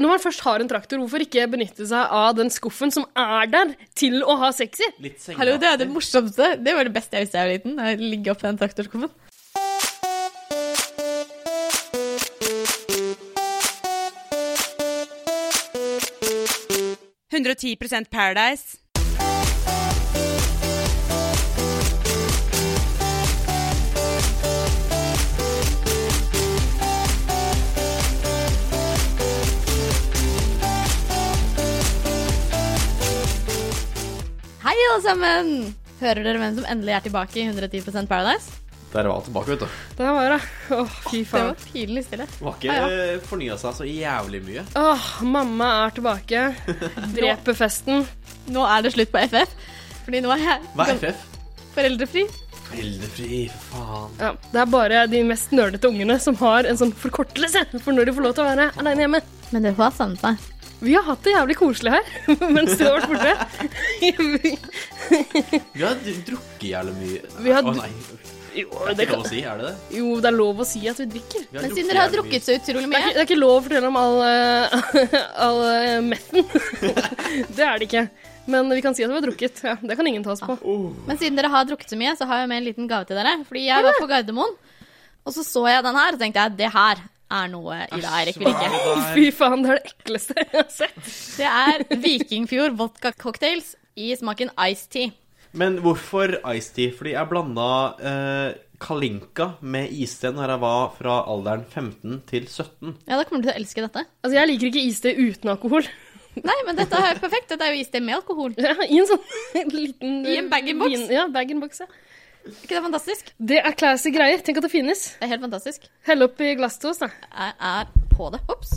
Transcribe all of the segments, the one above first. Når man først har en traktor, hvorfor ikke benytte seg av den skuffen som er der, til å ha sex i? Litt Hallo, det er det sengeaktig. morsomste. Det var det beste jeg visste da jeg var liten. Jeg ligge opp i den traktorskuffen. Paradise. Hei, alle sammen! Hører dere hvem som endelig er tilbake i 110 Paradise? Der var alt tilbake, vet du. Der var det. Åh, fy Det faen. var pinlig stille. Var ikke Ja, ja, fornya seg så jævlig mye. Åh, mamma er tilbake. Dreper festen. Nå er det slutt på FF. Fordi nå er jeg Hva er gam- FF? foreldrefri. Foreldrefri, for faen. Ja, det er bare de mest nerdete ungene som har en sånn forkortelse for når de får lov til å være aleine hjemme. Men du har savnet meg. Vi har hatt det jævlig koselig her mens du har vært borte. Vi har d- drukket jævlig mye. Vi har Å dr- nei, jo, det er det ikke kan, lov å si, er det det? jo, det er lov å si at vi drikker. Vi Men siden dere har jævlig mye. drukket så utrolig Det er, ikke, mye det er ikke lov å fortelle om all, eh, all eh, metten. det er det ikke. Men vi kan si at vi har drukket. Ja, det kan ingen ta oss på. Men siden dere har drukket så mye, så har jeg med en liten gave til dere. Fordi jeg var på Gardermoen, og så så jeg den her, og så tenkte jeg det her er noe Ida Eirik vil Æsj, ikke. hva er det Fy faen, det er det ekleste jeg har sett. Det er Vikingfjord vodka cocktails i smaken Ice Tea. der? Men hvorfor Ice Tea? Fordi jeg blanda eh, Kalinka med iste når jeg var fra alderen 15 til 17. Ja, da kommer du til å elske dette. Altså, jeg liker ikke iste uten alkohol. Nei, men dette er jo perfekt. Dette er jo iste med alkohol. Ja, I en sånn liten I en bag-in-box? vin- Ja, bag-in-box, ja. Er ikke det fantastisk? Det er classy greier. Tenk at det finnes. Det er helt fantastisk. Hell oppi glass til oss, da. Jeg er på det. Ops.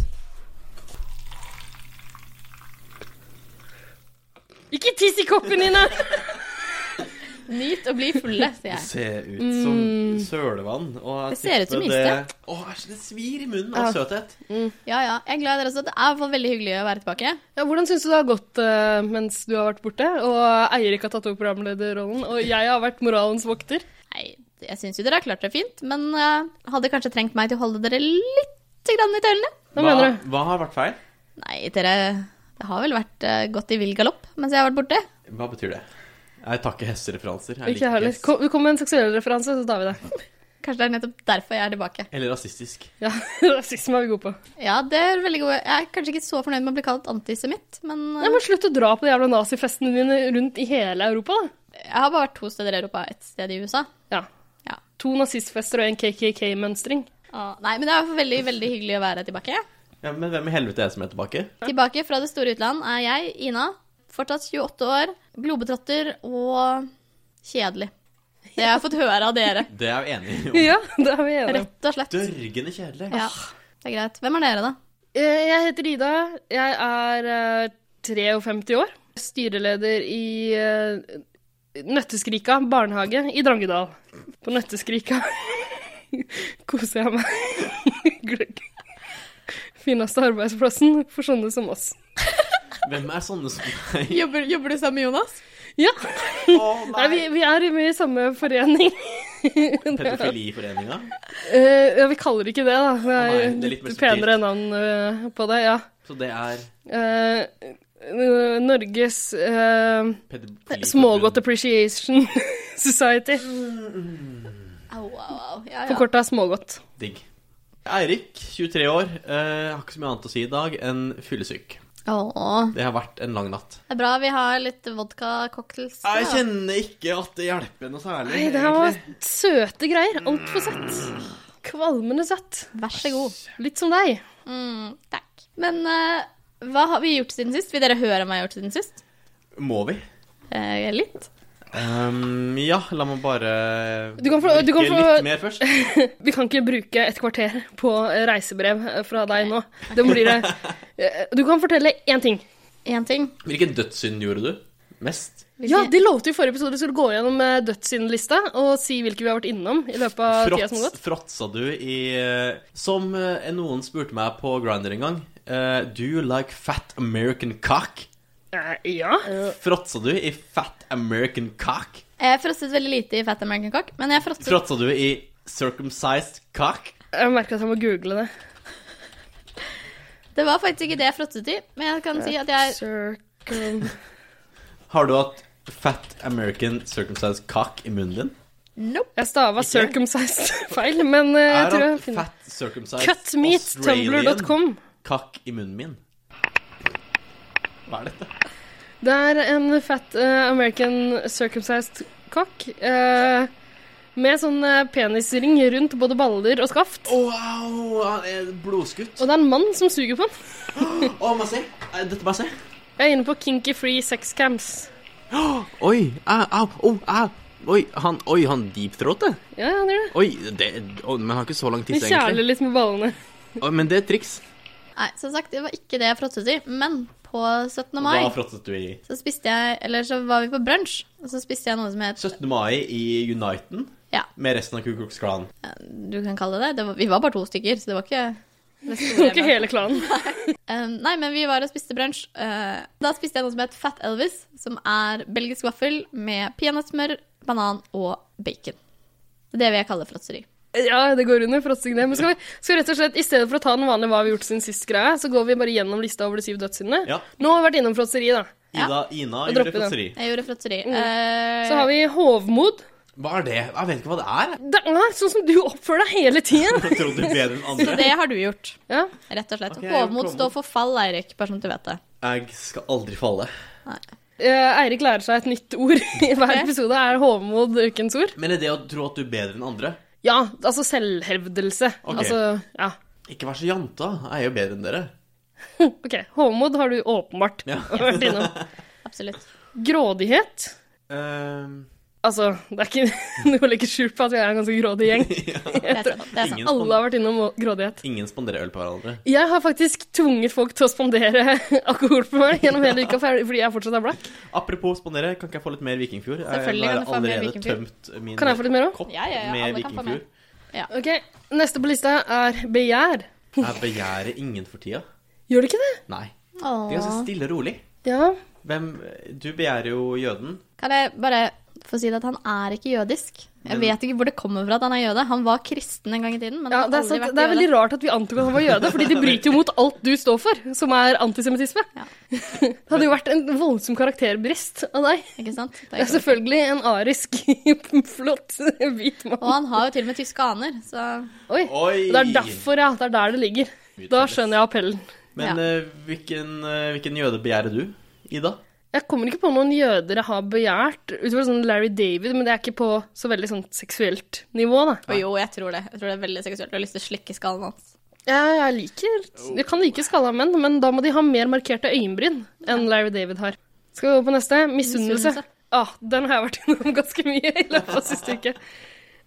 Ikke tiss i koppen, Nina! Nyt å bli fulle, sier Det jeg. ser ut som sølevann. Og jeg Mm. Det ser ut som tipper iste. det- Å, æsj, det svir i munnen av søthet. Ja, ja. Jeg er glad i dere også. Det er i hvert fall veldig hyggelig å være tilbake. Ja, hvordan syns du det har gått eh, mens du har vært borte? Og Eirik har tatt over programlederrollen, og jeg har vært moralens vokter. Nei, jeg syns jo dere har klart dere fint, men eh, hadde kanskje trengt meg til å holde dere litt grann i tøylene. Hva mener du? hva har vært feil? Nei, dere Det har vel vært eh, gått i vill galopp mens jeg har vært borte. Hva betyr det? Jeg tar ikke hestereferanser. Jeg Ikke jeg heller. hest. Kom, kom med en seksuell referanse, så tar vi det. Kanskje det er nettopp derfor jeg er tilbake. Eller rasistisk. Ja, Rasisme er vi gode på. Ja, det er veldig gode. Jeg er kanskje ikke så fornøyd med å bli kalt antisemitt, men eh, Nei, men Slutt å dra på de jævla nazifestene dine rundt i hele Europa, da. jeg har bare vært to steder i Europa, ett sted i USA. Ja. Ja. To nazistfester og en KKK-mønstring. Ah, Nei, men det er i hvert fall veldig, veldig hyggelig å være tilbake. Ja, men hvem i helvete er det som er tilbake? Tilbake fra det store utland er jeg, Ina, fortsatt 28 år, globetrotter og kjedelig. Det har jeg fått høre av dere, Det er jeg jo enig i. Ja, det er vi enige om. rett og slett. Dørgende kjedelig. Ja, det er greit. Hvem er dere, da? Eh, Jeg heter Ida. Jeg er eh, 53 år. Styreleder i eh, Nøtteskrika barnehage i Drangedal. På Nøtteskrika koser jeg meg. Gløgg. Fineste arbeidsplassen for sånne som oss. Hvem er sånne som meg? Jobber, du sammen med Jonas? Ja. Å, Nei, vi, vi er med i samme forening. Pedofiliforeninga? Eh, ja, vi kaller det ikke det, da. Det er, Å nei, det er litt litt, mer subtilt. penere navn eh, på det, ja. Så det er Eh, n- Norges uh, pedofili... Smågodt Appreciation Society. Au, au, au. Ja, ja. Forkorta smågodt. Digg. Eirik, 23 år. eh, har ikke så mye annet å si i dag enn fyllesyk. Åh, Det har vært en lang natt. det er bra vi har litt vodka-cocktails. Jeg kjenner ikke at det hjelper noe særlig. Nei, det her var søte greier. Altfor søtt. Kvalmende søtt. Vær så god. Litt som deg. Mm, takk. Men eh, hva har vi gjort siden sist? Vil dere høre hva jeg har gjort siden sist? Må vi? Eh, litt. Ehm, ja, la meg bare Du kan få- du kan drikke få- litt mer først. Vi kan ikke bruke et kvarter på reisebrev eh, fra deg nå. Det blir det. Eh, Du kan fortelle én ting. Én ting. Hvilken dødssynd gjorde du? Mest? Ja, de lovte i forrige episode at vi skulle gå gjennom eh, dødssyndlista og si hvilke vi har vært innom i løpet av tida som har Fråts, gått. fråtsa du i eh, Som eh, noen spurte meg på Grinder en gang. eh, do you like fat American cock? Eh, ja. Fråtsa du i fat American cock? Jeg frosset veldig lite i Fat American Cock, men jeg frosset Fråtsa du i circumcised cock? Jeg merker at jeg må google det. Det var faktisk ikke det jeg frottet i, men jeg kan si at jeg Circum... Har du hatt fat American circumcised cock i munnen din? Nope. Jeg stava Ikke? 'circumcised' feil, men eh, jeg tror jeg finner fat circumcised Cutmeat.tumblr.com. cock i munnen min? Hva er dette? Det er en fat eh, American circumcised cock eh, med sånn eh, penisring rundt både baller og skaft. Wow, han er blodskutt. Og det er en mann som suger på den. Å, må jeg se. Eh, Dette må jeg se. Jeg er inne på Kinky Free Sex Camps. Oi, au, au, au, au. Oi, han, oi, han deepthroatet. Ja, ja, det er det. Oi, det, å, men han har ikke så lang Vi tiss, kjæler egentlig. litt med ballene. Å, men det er et triks. Nei, som sagt, det var ikke det jeg frottet i, men på 17. mai Hva frottet du i? så spiste jeg, eller så var vi på brunsj, og så spiste jeg noe som het 17. mai i Uniten Ja. med resten av Ku Klux Klan. Du kan kalle det det. det var, vi var bare to stykker, så det var ikke det Det store var ikke hele klanen. Eh, nei, men vi var og spiste brunsj. eh, da spiste jeg noe som het Fat Elvis, som er belgisk vaffel med peanøttsmør, banan og bacon. Det vil jeg kalle fråtseri. Ja, det går under frotting, det. Men skal vi skal vi rett og slett, i stedet for å ta den vanlige hva vi har gjort siden sist greia, så går vi bare gjennom lista over de syv dødssyndene. Ja. Nå har vi vært innom frotteri, da. Ja. Ida, Ina Og gjorde droppe den. frotteri. Jeg gjorde fråtseri. Mm. Eh, Så har vi hovmod. Hva er det? Jeg vet ikke hva det er. jeg. Det er sånn som du oppfører deg hele tiden. Jeg trodde du bedre enn andre. det har du gjort, Ja. rett og Ok, slett. jeg gjorde Hovmod hovmod. står for fall, Eirik, bare sånn at du vet det. Jeg skal aldri falle. Eh, Eirik lærer seg et nytt ord i hver Ok. episode. Er hovmod ukens ord? Men er det å tro at du er bedre enn andre? Ja, altså selvhevdelse. Ok. Altså, ja. Ikke vær så janta. Jeg er jo bedre enn dere. OK. Hovmod har du åpenbart Ja. vært innom. Absolutt. Grådighet. Ehm, Altså, det er ikke noe å legge skjul på at vi er en ganske grådig gjeng. Det er sant. Det er sant. ingen, Alle spon har vært innom grådighet. ingen spanderer øl på hverandre. Jeg har faktisk tvunget folk til å spandere alkohol på meg gjennom hele uka for- fordi jeg fortsatt er blakk. Apropos spandere, kan ikke jeg få litt mer Vikingfjord? Jeg Selvfølgelig har kan du få mer allerede Vikingfjord. tømt min Kan jeg få litt mer òg? kopp Ja, ja, ja, med alle kan få mer. Vikingfjord. Ok, Neste på lista er begjær. Jeg begjærer ingen for tida. Gjør det ikke det? Nei. Det er ganske Åh. stille og rolig. Ja. Hvem Du begjærer jo jøden. Kan jeg bare få si det at han er ikke jødisk? Jeg Men- vet ikke hvor det kommer fra at han er jøde. Han var kristen en gang i tiden, men ja han det, har er aldri sant. vært det er jøde. veldig rart at vi antok at han var jøde, fordi det bryter jo mot alt du står for, som er antisemittisme. Ja. Det hadde jo vært en voldsom karakterbrist av deg. Ikke sant? Det er Det er ikke- selvfølgelig en arisk, flott hvit mann. Og han har jo til og med tyske aner, så Oi. Oi! Det er derfor, ja. Det er der det ligger. Da skjønner jeg appellen. Men Ja. eh, hvilken, eh, hvilken jøde begjærer du, Ida? Jeg kommer ikke på noen jøder jeg har begjært, utover sånn Larry David, men det er ikke på så veldig sånn seksuelt nivå, da. Og jo, jeg tror det. Jeg tror det er veldig seksuelt. Du har lyst til å slikke skallen hans. Jeg, jeg liker Jeg kan like skalla menn, men da må de ha mer markerte øyenbryn enn Larry David har. Skal vi over på neste? Misunnelse. Misunnelse. Ah, den har jeg vært innom ganske mye i løpet av siste uke.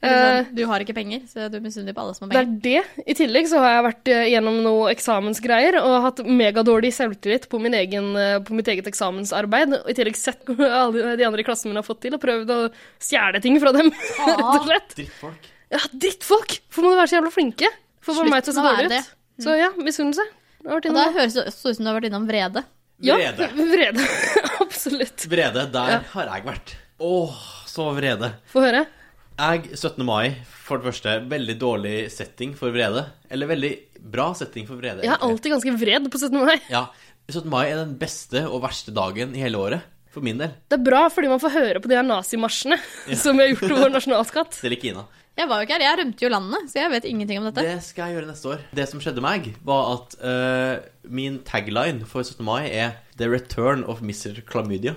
Eh, Du har ikke penger, så du misunner på alle som det har er penger. det. I tillegg så har jeg vært eh, gjennom noe eksamensgreier og hatt megadårlig selvtillit på, min egen, eh, på mitt eget eksamensarbeid. Og i tillegg sett hva alle de andre i klassen min har fått til, og prøvd å stjele ting fra dem, rett og slett. Drittfolk. Ja, drittfolk! Hvorfor må de være så jævla flinke? For å få Slutt meg til å se med å være dårlig det. Mm. ut. Så ja, misunnelse. Det har vært Og da innom det. høres det også ut som du har vært innom vrede. Ja, Vrede. vrede. Absolutt. Vrede, der har jeg vært. Åh, så vrede. Få høre. Jeg, 17. mai, for det første, veldig dårlig setting for vrede. Eller veldig bra setting for vrede. Jeg er egentlig. alltid ganske vred på 17. mai. Ja, 17. mai er den beste og verste dagen i hele året. For min del. Det er bra fordi man får høre på de her nazimarsjene som vi har gjort til vår nasjonalskatt. Selv ikke Ina. Jeg var jo ikke her, jeg rømte jo landet, så jeg vet ingenting om dette. Det skal jeg gjøre neste år. Det som skjedde meg, var at eh, min tagline for 17. mai er The return of Mr. Chlamydia.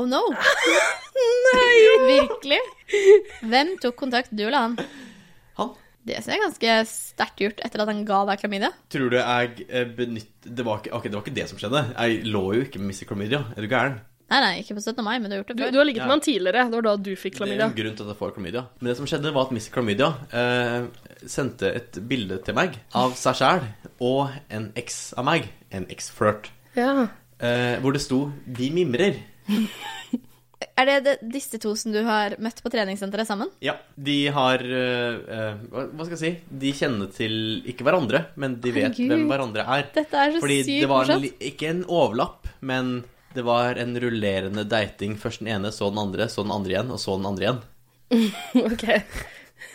Oh no! Nei! Virkelig? Hvem tok kontakt, du eller han? Han. Det ser jeg ganske sterkt gjort etter at han ga deg klamydia. Tror du jeg eh, benytt... Det var, ikke, ok, det var ikke det som skjedde. Jeg lå jo ikke med Mr. Chlamydia. Er du gæren? Nei, nei, ikke på 17. mai, men du har gjort det Du, før. du har ligget Ja. med han tidligere. Det var da du fikk Det er klamydia. en grunn til at jeg får klamydia. Men det som skjedde, var at Miss Klamydia eh, sendte et bilde til meg av seg sjæl og en eks av meg, en eksflørt, Ja. eh, hvor det sto 'Vi mimrer'. Er det, det disse to som du har møtt på treningssenteret sammen? Ja. De har eh, eh, Hva hva skal jeg si? De kjenner til ikke hverandre, men de vet Herregud. hvem hverandre er. Dette er så Fordi sykt det var en, morsomt. li- ikke en overlapp, men det var en rullerende dating. Først den ene, så den andre, så den andre igjen, og så den andre igjen. Ok.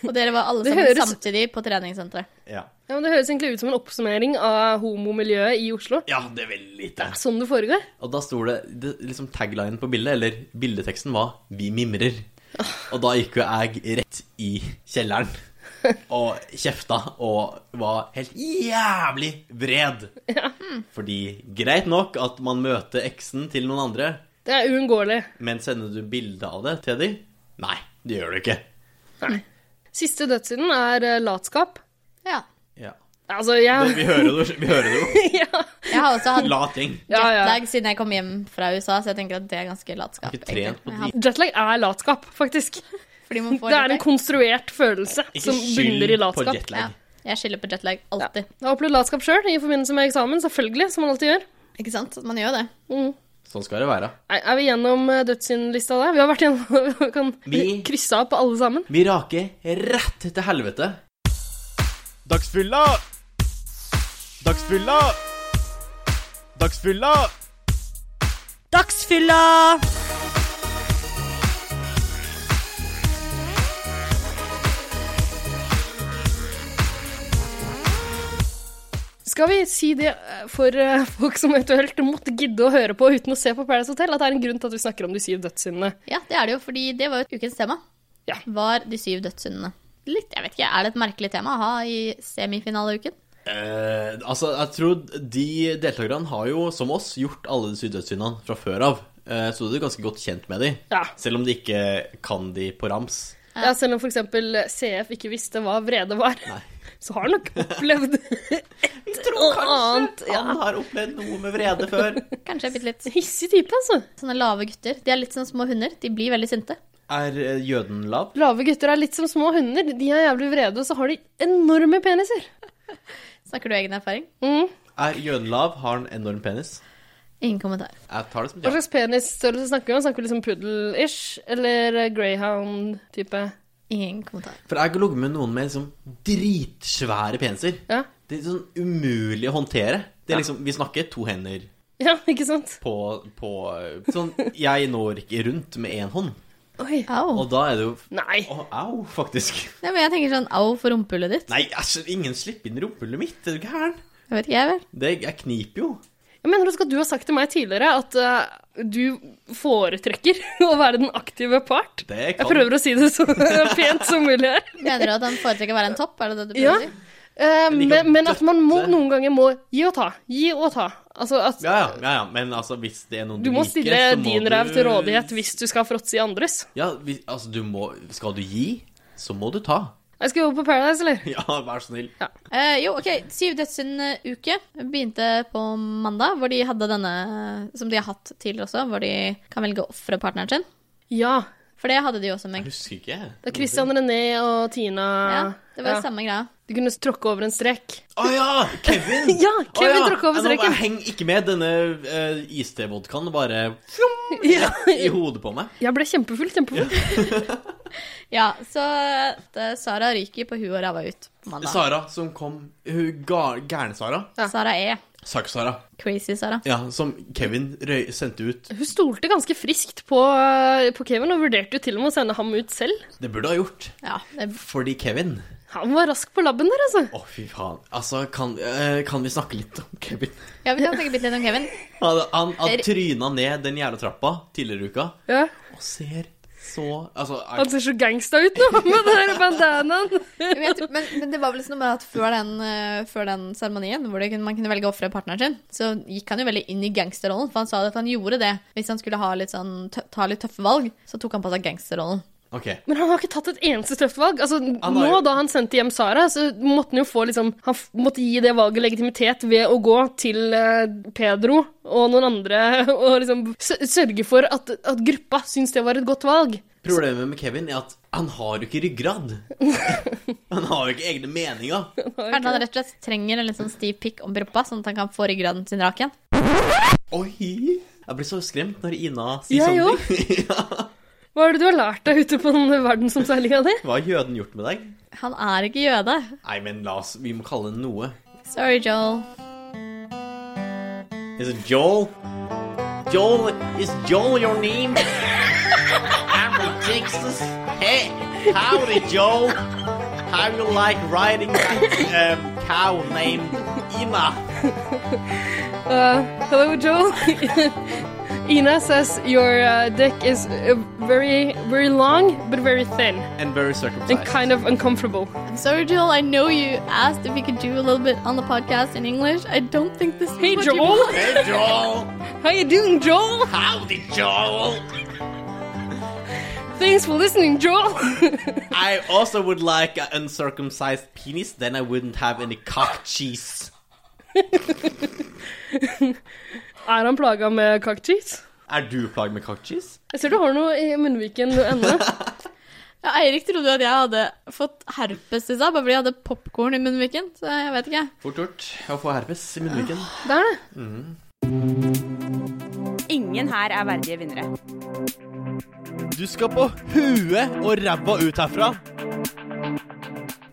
Og dere var alle Det sammen høres- samtidig på treningssenteret. Ja. Ja, men Det høres egentlig ut som en oppsummering av homomiljøet i Oslo. ja, det er veldig lite. Sånn det foregår. Og da sto det, det liksom taglinen på bildet, eller bildeteksten, var 'Vi mimrer'. Og da gikk jo jeg rett i kjelleren og kjefta og var helt jævlig vred. Fordi greit nok at man møter eksen til noen andre, Det er uunngåelig. men sender du bilde av det til de? Nei, det gjør du ikke. Siste dødssynden er eh, latskap. Ja. Ja. Altså, Det, jeg vi hører det jo. Vi hører det jo. ja. Jeg har også hatt Lating. Ja, ja. jetlag siden jeg kom hjem fra USA, så jeg tenker at det er ganske latskap. Ikke trent på egentlig. Ja, drit. Jetlag er latskap, faktisk. Fordi man får Det er en jetlag. konstruert følelse Ikke som bunner i skyld på latskap. jetlag. Ja, jeg skylder på jetlag alltid. Jeg har opplevd latskap sjøl i forbindelse med eksamen, selvfølgelig, som man alltid gjør. Ikke sant? Man gjør jo det. Mm. Sånn skal det være. Nei, Er vi gjennom eh, dødssyndlista der? Vi har vært gjennom Vi kan Vi- krysse av på alle sammen. Vi raker rett til helvete. Dagsfylla! Dagsfylla! Dagsfylla! Dagsfylla! Skal vi si det eh, for eh, folk som eventuelt måtte gidde å høre på uten å se på Paradise Hotel, at det er en grunn til at vi snakker om de syv dødssyndene? Ja, det er det jo, fordi det var jo ukens tema. Ja. Var de syv dødssyndene. Litt, jeg vet ikke, Er det et merkelig tema å ha i semifinaleuken? Eh, altså, jeg tror de deltakerne har jo, som oss, gjort alle de sydøstsyndene fra før av. Eh, så du er ganske godt kjent med de. Ja. Selv om de ikke kan de på rams. Ja, selv om f.eks. CF ikke visste hva vrede var, så har han nok opplevd et og annet. Ja. Han har opplevd noe med vrede før. Kanskje bitte litt. Hissig type, altså. Sånne lave gutter. De er litt som små hunder. De blir veldig sinte. Er eh, jøden lav? Lave gutter er litt som små hunder. De er jævlig vrede, og så har de enorme peniser. Snakker du egen erfaring? Mm. Er jøden lav, har han enorm penis? Ingen kommentar. Jeg tar det som Hva et ja. slags penisstørrelse snakker vi om? Snakker vi liksom puddel-ish? Eller eh, greyhound-type? Ingen kommentar. For jeg har ligget med noen med liksom dritsvære peniser. Ja. Det er sånn umulig å håndtere. Det er liksom, Vi snakker to hender ja, ikke sant? på, på Sånn, jeg når ikke rundt med én hånd. Oi. Au. Og da er det jo Nei. Å, au, faktisk. Nei, men jeg tenker sånn au for rumpehullet ditt. Nei, æsj, ingen slipper inn i rumpehullet mitt, er du gæren? Jeg vet ikke, jeg vel. Det, jeg kniper jo. Jeg mener også at du har sagt til meg tidligere at eh, du foretrekker å være den aktive part. Det Jeg kan prøver å si det så pent som mulig her. Mener du at han foretrekker å være en topp? Er det det du prøver Ja. å si? Eh, liker å men, men at man må, døtte. noen ganger må gi og ta. Gi og ta. Altså at ja, ja, ja, ja, men altså, hvis det er noen du må liker, stille så må din du- ræv til rådighet hvis du skal fråtse i andres. Ja, hvis, altså, du må Skal du gi, så må du ta. Jeg skal jobbe på Paradise, eller? Ja, vær så snill. Eh, jo, ok, Syv dødssynd-uke begynte på mandag, hvor de hadde denne eh, som de har hatt tidligere også, hvor de kan velge å ofre partneren sin. Ja. For det hadde de også med. Jeg husker ikke. Det er Christian Mm-hmm. René og Tina Ja, det var Ja. samme greia. De kunne tråkke over en strek. Å ja! Kevin! Ja, Kevin Å, ja. tråkket over Ja, nå bare- streken. Jeg henger ikke med. Denne uh, iste-vodkaen bare Ja. i hodet på meg. Jeg ble kjempefull, kjempefull. Ja, så eh, Sara ryker på huet og ræva ut på mandag. Sara som kom Hun ga- gærne-Sara. Ja. Sara E. Sak-Sara. Crazy Sara. Ja, som Kevin røy, sendte ut. Hun stolte ganske friskt på, eh, på Kevin og vurderte jo til og med å sende ham ut selv. Det burde ha gjort. Ja, det, Fordi Kevin Han var rask på labben der, altså. Å, fy faen. Altså, kan, eh, kan vi snakke litt om Kevin? ja vi kan snakke litt litt om Kevin. Han, han, han tryna ned den jævla trappa tidligere i uka Ja. og ser så Altså, Han ser så gangsta ut nå med den der bandanaen. Jeg vet, men, men det var vel sånn med at før den, eh, før den seremonien, hvor det kunne, man kunne velge å ofre partneren sin, så gikk han jo veldig inn i gangsterrollen. For han sa at han gjorde det hvis han skulle ha litt sånn, tø ta litt tøffe valg. Så tok han på seg gangsterrollen. OK. Men han har ikke tatt et eneste tøft valg. Altså, har nå jo- da han sendte hjem Sara, så måtte han jo få liksom Han f- måtte gi det valget legitimitet ved å gå til eh, Pedro og noen andre og liksom sø- sørge for at, at gruppa syns det var et godt valg. Problemet med Kevin er at han har jo ikke ryggrad. Han har jo ikke egne meninger. Kanskje han rett og slett trenger en litt sånn stiv pikk om rumpa, sånn at han kan få ryggraden sin rak igjen. Oi! Jeg blir så skremt når Ina sier Jeg sånne ting. ja. Hva er det du har lært deg ute på den verdensomseilinga di? Hva har jøden gjort med deg? Han er ikke jøde. Nei, men la oss Vi må kalle det noe. Sorry, Joel. Is it Joel? Joel, is Joel your name? I'm from Texas. Hey, howdy, Joe. How you like riding that um, cow named Ina? Uh, hello, Joel. Ina says your uh, dick is uh, very, very long, but very thin And very circumcised. and kind of uncomfortable. I'm sorry, Joel. I know you asked if you could do a little bit on the podcast in English. I don't think this is Hey, what you Joel. want. Hey, Joel. How you doing, Joel? Howdy, Joel. Thanks for listening, Joel. I also would like an uncircumcised penis, then I wouldn't have any cock cheese. er han plaga med kaktus? Er du plaget med cock cheese? Jeg ser du har noe i munnviken ennå. Ja, Eirik trodde jo at jeg hadde fått herpes i stad, bare fordi jeg hadde popkorn i munnviken. Så jeg vet ikke. Fort gjort å få herpes i munnviken. Det er det. Ingen her er verdige vinnere. Du skal på huet og ræva ut herfra.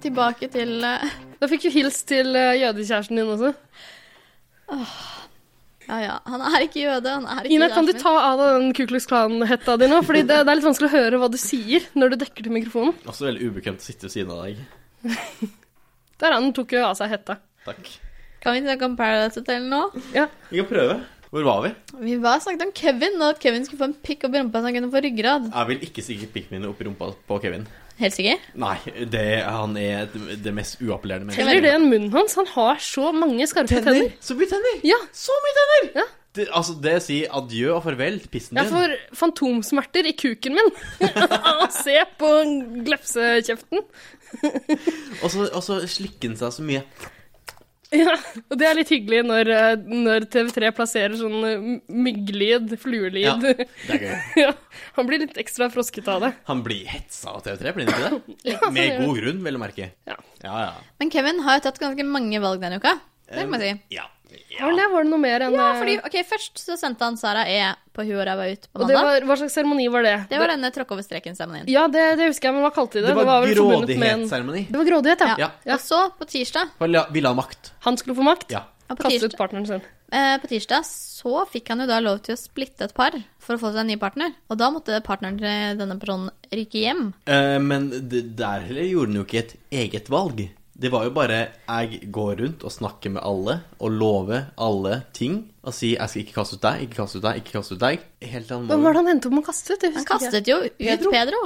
Tilbake til eh, Da fikk du hils til eh, jødekjæresten din også. Ja, ja. Han er ikke jøde. Han er ikke Ina, kan du jøden min. ta av deg den Ku Klux Klan-hetta di nå? Fordi det, det er litt vanskelig å høre hva du sier når du dekker til mikrofonen. Også veldig ubekvemt å sitte ved siden av deg. Der han tok jo av seg hetta. Takk. Kan vi snakke om Paradise Hotel nå? Ja. Vi kan prøve. Hvor var vi? Vi var snakket om Kevin, og at Kevin skulle få en pikk opp i rumpa så han kunne få ryggrad. Jeg vil ikke stikke pikken min opp i rumpa på Kevin. Helt sikker? Nei, det, han er det- det mest uappellerende mennesket. Eller det enn munnen hans. Han har så mange skarpe tenner. Så mye tenner! Ja. Så mye tenner! Ja. Det, altså, det sier adjø og farvel til pissen Jeg din. får fantomsmerter i kuken min. Se på glefsekjeften. Og så- Og så slikker han seg så mye. Ja, og det er litt hyggelig når, eh, når TV3 plasserer sånn eh, mygglyd, fluelyd. Ja. Det er gøy. Han blir litt ekstra frosket av det. Han blir hetsa av TV3, blir han ikke det? Ja, sånn Med gjør god grunn, vel å merke. Ja. ja. ja. Men Kevin har jo tatt ganske mange valg denne uka. Det må Eh, jeg si. Ja. Var det det? Var det noe mer enn Ja, eh, fordi, ok, Først så sendte han Sara E på huet og ræva ut på Og det mandag. var, hva slags seremoni var det? Det var denne tråkk over streken-seremonien. Ja, det, det husker jeg, men hva kalte de det? Det var, vel forbundet med en- grådighetsseremoni. Det var grådighet, ja. Ja. Og så, på tirsdag, For la- Vi la makt. Han skulle få makt. Ja. ja, på Kaste ut tirsdag, partneren sin. eh, på tirsdag så fikk han jo da lov til å splitte et par for å få seg en ny partner. Og da måtte partneren til denne personen ryke hjem. Eh, men det, der heller gjorde han jo ikke et eget valg. Det var jo bare jeg går rundt og snakker med alle og lover alle ting. Og sier 'jeg skal ikke kaste ut deg, ikke kaste ut deg, ikke kaste ut deg'. Helt til han Hvem må- var det han endte opp med å kaste ut? Jeg husker Han ikke. kastet jo ut Pedro.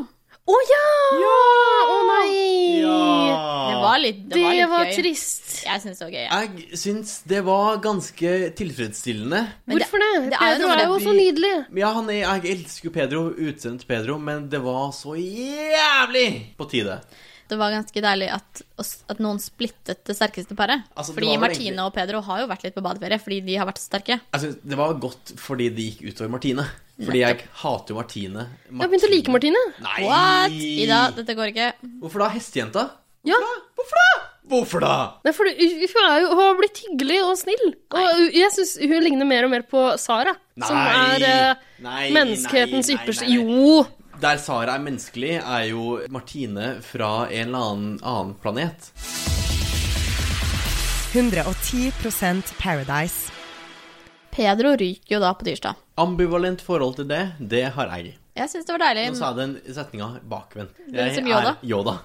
Å ja! Å nei! Det Ah. var litt, det Det var litt var gøy. trist. Jeg syns det var gøy. Ja. Jeg syns det var ganske tilfredsstillende. Men Hvorfor det? det er jo Pedro noe er med jo det- så nydelig. Ja, han er, jeg elsker jo Pedro, utseendet til Pedro, men det var så jævlig på tide. Det var ganske deilig at, at noen splittet det sterkeste paret. Altså, det fordi var vel Martine egentlig- og Pedro har jo vært litt på badeferie, fordi de har vært så sterke. Jeg synes Altså, Det var godt fordi det gikk utover Martine. Fordi jeg hater jo Martine. Jeg har begynt å like Martine. Nei! What? Ida, dette går ikke. Hvorfor da? Hestejenta? Ja. Hvorfor da? Hvorfor da? Nei, for hun hun er jo, hun har blitt hyggelig og snill. Og hun- jeg syns hun ligner mer og mer på Sara. Som Nei. er eh, Nei, menneskehetens nei, nei, ypperste nei. Jo! Der Sara er menneskelig, er jo Martine fra en eller annen annen planet. 110 Paradise. Pedro ryker jo da på tirsdag. Ambivalent forhold til det, det har jeg. Jeg syns det var deilig. Nå sa jeg den setninga bakvendt. er som Er Yoda.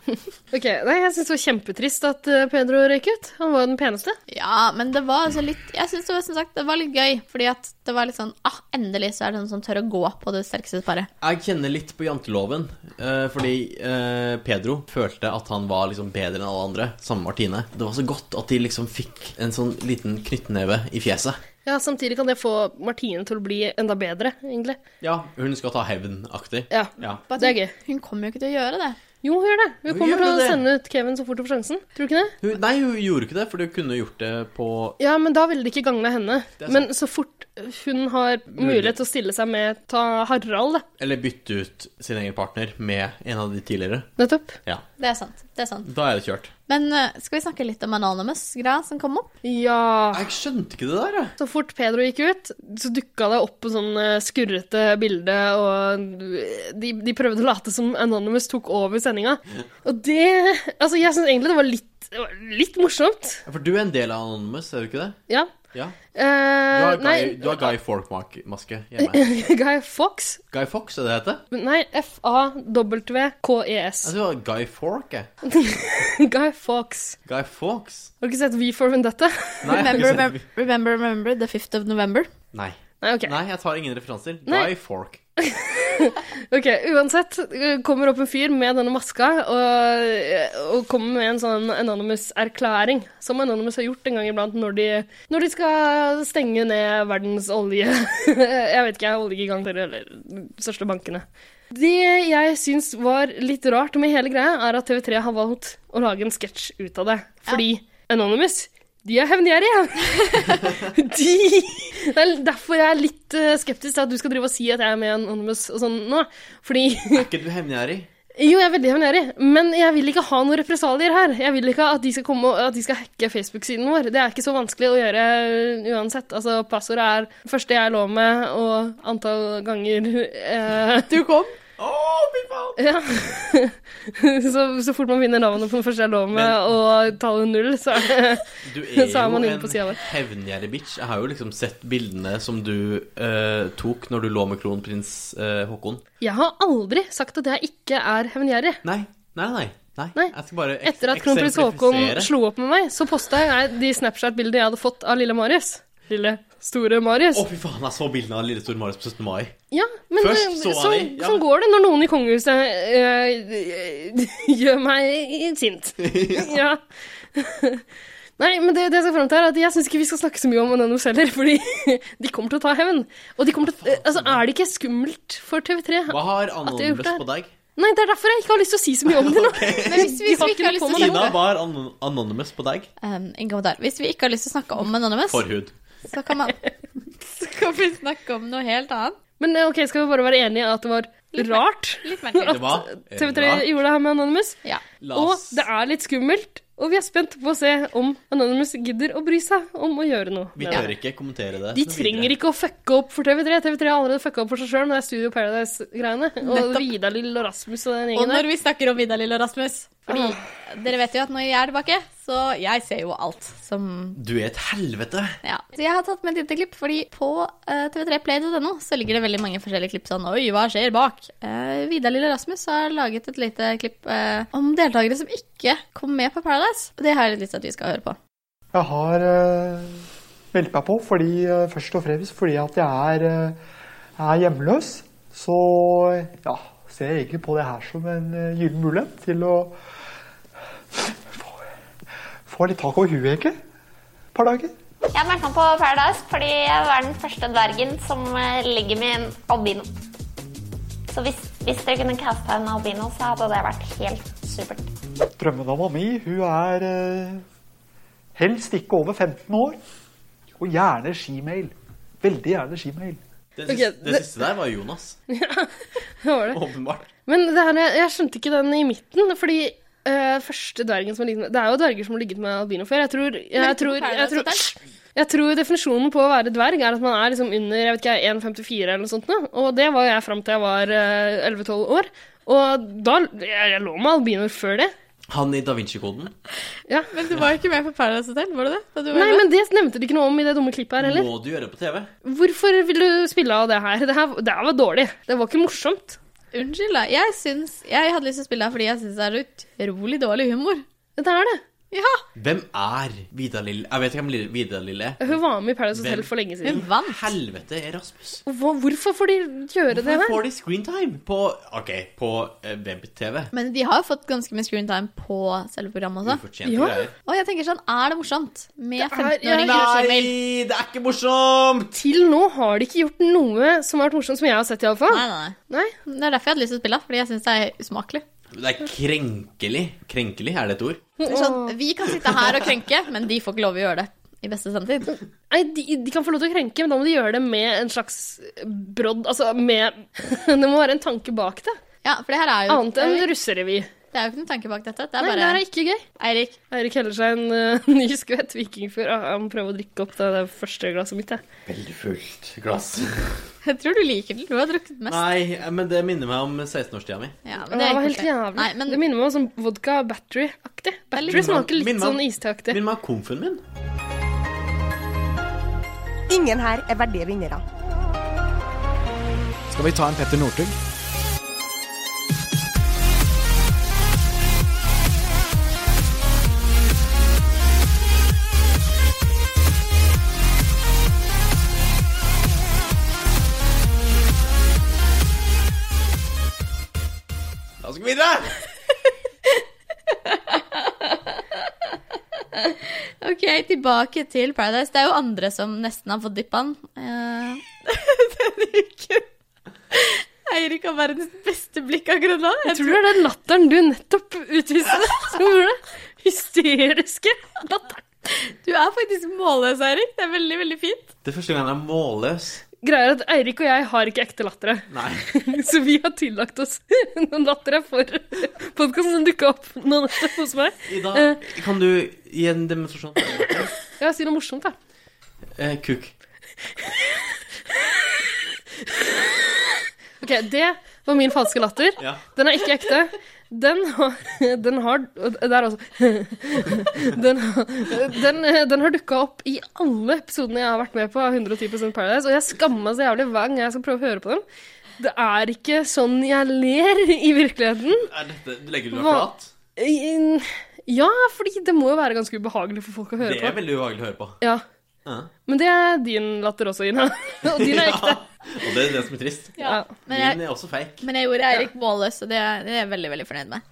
Ok, nei, Jeg syns det var kjempetrist at eh, Pedro røyk ut. Han var jo den peneste. Ja, men det var altså litt Jeg syns det var som sagt det var litt gøy, fordi at det var litt sånn ah, endelig så er det noen som tør å gå på det sterkeste paret. Jeg kjenner litt på janteloven, eh, fordi eh, Pedro følte at han var liksom bedre enn alle andre, sammen med Martine. Det var så godt at de liksom fikk en sånn liten knyttneve i fjeset. Ja, Samtidig kan det få Martine til å bli enda bedre, egentlig. Ja, hun skal ta hevn-aktig. Ja, Ja. Det er gøy. sånn, Hun kommer jo ikke til å gjøre det. Jo, hun gjør det. Hun Hun kommer gjør til å det. sende ut Kevin så fort hun får sjansen. Tror du ikke det? Hun, nei, hun gjorde ikke det, for hun kunne gjort det på Ja, men da ville det ikke gagne henne. Det er sant. Men så fort hun har mulighet til å stille seg med ta Harald, da. Eller bytte ut sin egen partner med en av de tidligere. Nettopp. Ja. Det er sant. det er sant. Da er det kjørt. Men eh, skal vi snakke litt om Anonymous-greia som kom opp? Ja. Jeg skjønte ikke det der, jeg. Så fort Pedro gikk ut, så dukka det opp på sånn eh, skurrete bilde, og de, de prøvde å late som Anonymous tok over sendinga. Og det Altså, jeg syns egentlig det var litt, det var litt morsomt. For du er en del av Anonymous, er du ikke det? Ja. Ja. Du Eh, har Guy, nei, du har Guy Forkmark-maske hjemme. Guy Fox? Guy Fox, er det det heter? Nei, F-A-W-K-E-S. Jeg tror det var Guy Fork, E jeg. Altså- Guy Fox. Guy Fawkes. Har du ikke sett V for Vendetta? Nei, jeg har ikke Remember, sett- remember, remember, remember the 5th of November? Nei. Nei, ok. Nei, jeg tar ingen referanser. Nei. Guy Fork. Ok, Uansett eh, kommer opp en fyr med denne maska og, og kommer med en sånn Anonymous-erklæring, som Anonymous har gjort en gang iblant når de, når de skal stenge ned verdens olje... jeg vet ikke, oljegiganter eller de største bankene. Det jeg syns var litt rart med hele greia, er at TV3 har valgt å lage en sketsj ut av det. Fordi Anonymous, de er hevngjerrige! De Det er derfor jeg er litt eh, skeptisk til at du skal drive og si at jeg er med i Anonymous og sånn nå. Fordi Er ikke du hevngjerrig? Jo, jeg er veldig hevngjerrig, men jeg vil ikke ha noen represalier her. Jeg vil ikke at de skal komme og at de skal hacke Facebook-siden vår. Det er ikke så vanskelig å gjøre uansett. Altså, passordet er det første jeg lå med, og antall ganger eh, Du kom? ja. så, så fort man finner navnet på den første jeg lå med, Men- og tallet null, så er det Du er Så er jo man inne på siden en vår. hevngjerrig bitch. Jeg har jo liksom sett bildene som du eh, tok når du lå med kronprins eh, Håkon. Jeg har aldri sagt at jeg ikke er hevngjerrig. Nei, nei, nei. nei. Nei. Jeg skal bare eks Etter at kronprins Haakon eksemplifisere. slo opp med meg, så posta jeg de Snapchat-bildene jeg hadde fått av lille Marius. Lille, store Marius. Å, fy faen, jeg så bildene av lille Store Marius på 17. mai. Ja, men Først det- så jeg sånn, de, ja. sånn går det når noen i kongehuset eh, gjør meg sint. ja. Nei, men det, det jeg skal frem til er at jeg syns ikke vi skal snakke så mye om Anonymous heller, fordi de kommer til å ta hevn. Og de kommer til å, altså, er det ikke skummelt for TV3? Hva de har har gjort Anonymous det her? på deg? Nei, det er derfor jeg ikke har lyst til å si så mye om det nå. Men hvis vi, De har vi ikke har kunnet lyst til å få meg Ina, snakke hva har Anon- Anonymous på deg? um, en kommentar. Hvis vi ikke har lyst til å snakke om Anonymous, Forhud. så kan, man, så kan vi snakke om noe helt annet. Men eh, ok, skal vi bare være enige at det var rart Litt Det merkelig. var TV3 rart. gjorde det her med Anonymous? Ja. La Og oss- det er litt skummelt, og vi er spent på å se om Anonymous gidder å bry seg om å gjøre noe. Vi med det. tør ikke kommentere det. De trenger ikke å fucke opp for TV3. TV3 har allerede fucka opp for seg sjøl med det Studio Paradise-greiene. Og Nettopp. Vidar-Lill og Rasmus og den Og gjengen når der. vi snakker om Vidar Lill og Rasmus Fordi dere vet jo at når jeg er tilbake, så jeg ser jo alt som Du er et helvete. ja. Så jeg har tatt med et lite klipp, fordi på eh, tv3play.no så ligger det veldig mange forskjellige klipp sånn Oi, hva skjer bak? Eh, Vidar Lill og Rasmus har laget et lite klipp eh, om deltakere som ikke kom med på Paradise. Og det har jeg litt lyst til at vi skal høre på. Jeg har uh, meldt meg på fordi, eh, først og fremst fordi at jeg er, eh, jeg er hjemløs. Så ja, ser jeg egentlig på det her som en eh, gyllen mulighet til å få, få litt tak over huet, egentlig. Et par dager. Jeg har meldt meg på Paradise fordi jeg er den første dvergen som eh, ligger med en albino. Så hvis, hvis dere kunne casta en albino, så hadde det vært helt supert. Drømmedama mi, hun er eh, helst ikke over 15 år. Og gjerne skimail. Veldig gjerne skimail. Det, Ok, siste, det det- siste der var Jonas. Hva var det? Åpenbart. Men det her, jeg skjønte ikke den i midten, fordi eh, første dvergen som har ligget med Det er jo dverger som har ligget med albino før. Jeg tror, jeg ikke på tror, jeg tror, Paradise jeg tror definisjonen på å være dverg er at man er liksom under jeg vet ikke, 1,54 eller noe sånt. nå. Og det var jeg fram til jeg var eh, 11-12 år. Og da jeg, jeg lå med albinoer før det. Han i Da Vinci-koden. Ja. Men du var jo ikke med på Paradise Hotel, var du det? Da du var Nei, med? men det nevnte de ikke noe om i det dumme klippet her heller. Må du gjøre det på TV? Hvorfor vil du spille av det her? Det her, det her var dårlig. Det var ikke morsomt. Unnskyld, da. Jeg, syns, jeg hadde lyst til å spille her fordi jeg syns det er utrolig dårlig humor. Det er det. Ja! Hvem er Vidar Lill? Jeg vet ikke hvem Lill- Vidar Lill er. Hun var med i Paradise Hotel Hvem? for lenge Hun siden. vant. Helvete er Rasmus. Og Hva, hvorfor får de gjøre det Hvorfor her? får de screentime på OK, på eh, web-TV? Men de har jo fått ganske mye screen time på selve programmet også. Ufortjente Ja. greier. Og jeg tenker sånn, er det morsomt med er- 15-åringer og Nei, skimail? det er ikke morsomt! Til nå har de ikke gjort noe som har vært morsomt, som jeg har sett iallfall. Nei, nei, Nei. nei. Det er derfor jeg hadde lyst til å spille, fordi jeg syns det er usmakelig. Det er krenkelig. Krenkelig, er det et ord? Det er sånn, vi kan sitte her og krenke, men de får ikke lov å gjøre det i beste sendetid. Nei, de, de kan få lov til å krenke, men da må de gjøre det med en slags brodd Altså med Det må være en tanke bak det. Ja, for det her er jo Annet enn russerevy. Det er jo ikke noen tanke bak dette. Det er Nei, det bare her er ikke gøy. Eirik, Eirik heller seg en eh, ny skvett vikingfyr. Ah, Jeg må prøve å drikke opp det, der første glasset mitt, jeg. Veldig fullt glass. jeg tror du liker den. Du har drukket mest. Nei, men det minner meg om 16-årstida mi. Ja, Det, men det var er ikke helt koselig. jævlig. Nei, men Det minner meg om sånn vodka battery-aktig. Battery litt- smaker litt minner meg om- sånn isteaktig. Minner meg om komfen min. Ingen her er verdige vinnere. Skal vi ta en Petter Northug? Da skal vi videre! Ok, tilbake til Paradise. Det er jo andre som nesten har fått dyppa den. eh, Denne uken. Eirik har verdens beste blikk akkurat nå. Jeg Tror du det er den latteren du nettopp utviste? Som gjorde det? Hysteriske latteren. Du er faktisk målløs, Eirik. Det er veldig, veldig fint. Det er første gang jeg er målløs. Greia er at Eirik og jeg har ikke ekte lattere. Nei. Så vi har tillagt oss noen latter jeg får podkasten som dukka opp nå nettopp hos meg. Ida, Eh. kan du gi en demonstrasjon? Ja, si noe morsomt, da. Eh, kuk. Ok, Det var min falske latter. Ja. Den er ikke ekte. Den har, den har og Der også. Den, har- den, den har dukka opp i alle episodene jeg har vært med på av 110 Paradise, og jeg skammer meg så jævlig hver gang jeg skal prøve å høre på dem. Det er ikke sånn jeg ler i virkeligheten. Er dette, legger du deg Hva- flat? I- Ja, fordi det må jo være ganske ubehagelig for folk å Det høre er på. veldig ubehagelig å høre på. Ja. Ja. Men det er din latter også, Ina. Og din er ekte. Og det er det som er trist. Ja. Men jeg, Min er også fake. men jeg gjorde Eirik målløs, og det er, det er jeg veldig, veldig fornøyd med.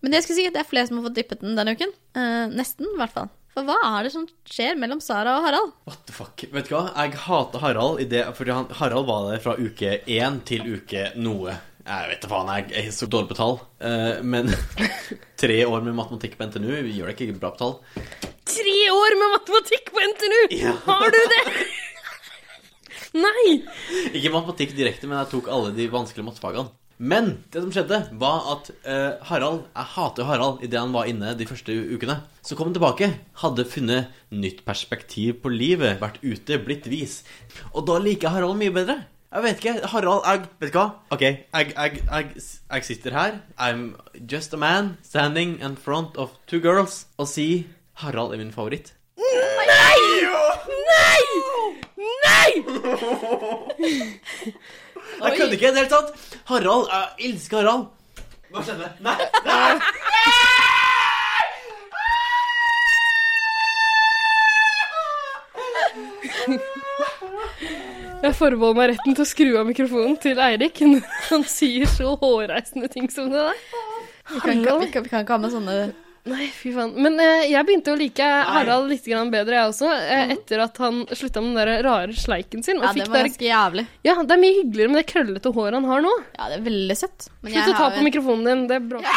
Men det jeg skulle si at det er flere som har fått dyppet den denne uken. Eh, nesten, i hvert fall. For hva er det som skjer mellom Sara og Harald? What the fuck? Vet du hva? Jeg hater Harald, i det, fordi han, Harald var der fra uke én til uke noe. Jeg vet da faen, jeg jeg er så dårlig på tall. Eh, men tre år med matematikk på NTNU gjør deg ikke bra på tall. Tre år med matematikk på NTNU! Har du det? Nei! Ikke matematikk direkte, men jeg tok alle de vanskelige mattefagene. Men det som skjedde, var at eh, Harald Jeg hater jo Harald idet han var inne de første u- ukene. Så kom han tilbake, hadde funnet nytt perspektiv på livet, vært ute, blitt vis. Og da liker jeg Harald mye bedre. Jeg vet ikke. Harald, jeg Vet du hva? OK, jeg, jeg, jeg, jeg sitter her. I'm just a man standing in front of two girls og sier Harald er min favoritt. Jeg kødder ikke i det hele tatt. Harald, jeg elsker Harald. Hva skjedde? Nei, nei. Jeg forbeholder meg retten til å skru av mikrofonen til Eirik når han sier så hårreisende ting som det der. Vi kan, ikke- vi kan, vi kan ikke ha med sånne Nei, fy faen. Men eh, jeg begynte å like Harald litt grann bedre, jeg også, eh, etter at han slutta med den der rare sleiken sin. Og Ja, fikk det var der- ganske jævlig. ja, det er mye hyggeligere med det krøllete håret han har nå. Ja, det er veldig søtt. Men Slutt å ta har på en- mikrofonen din. Det bråker.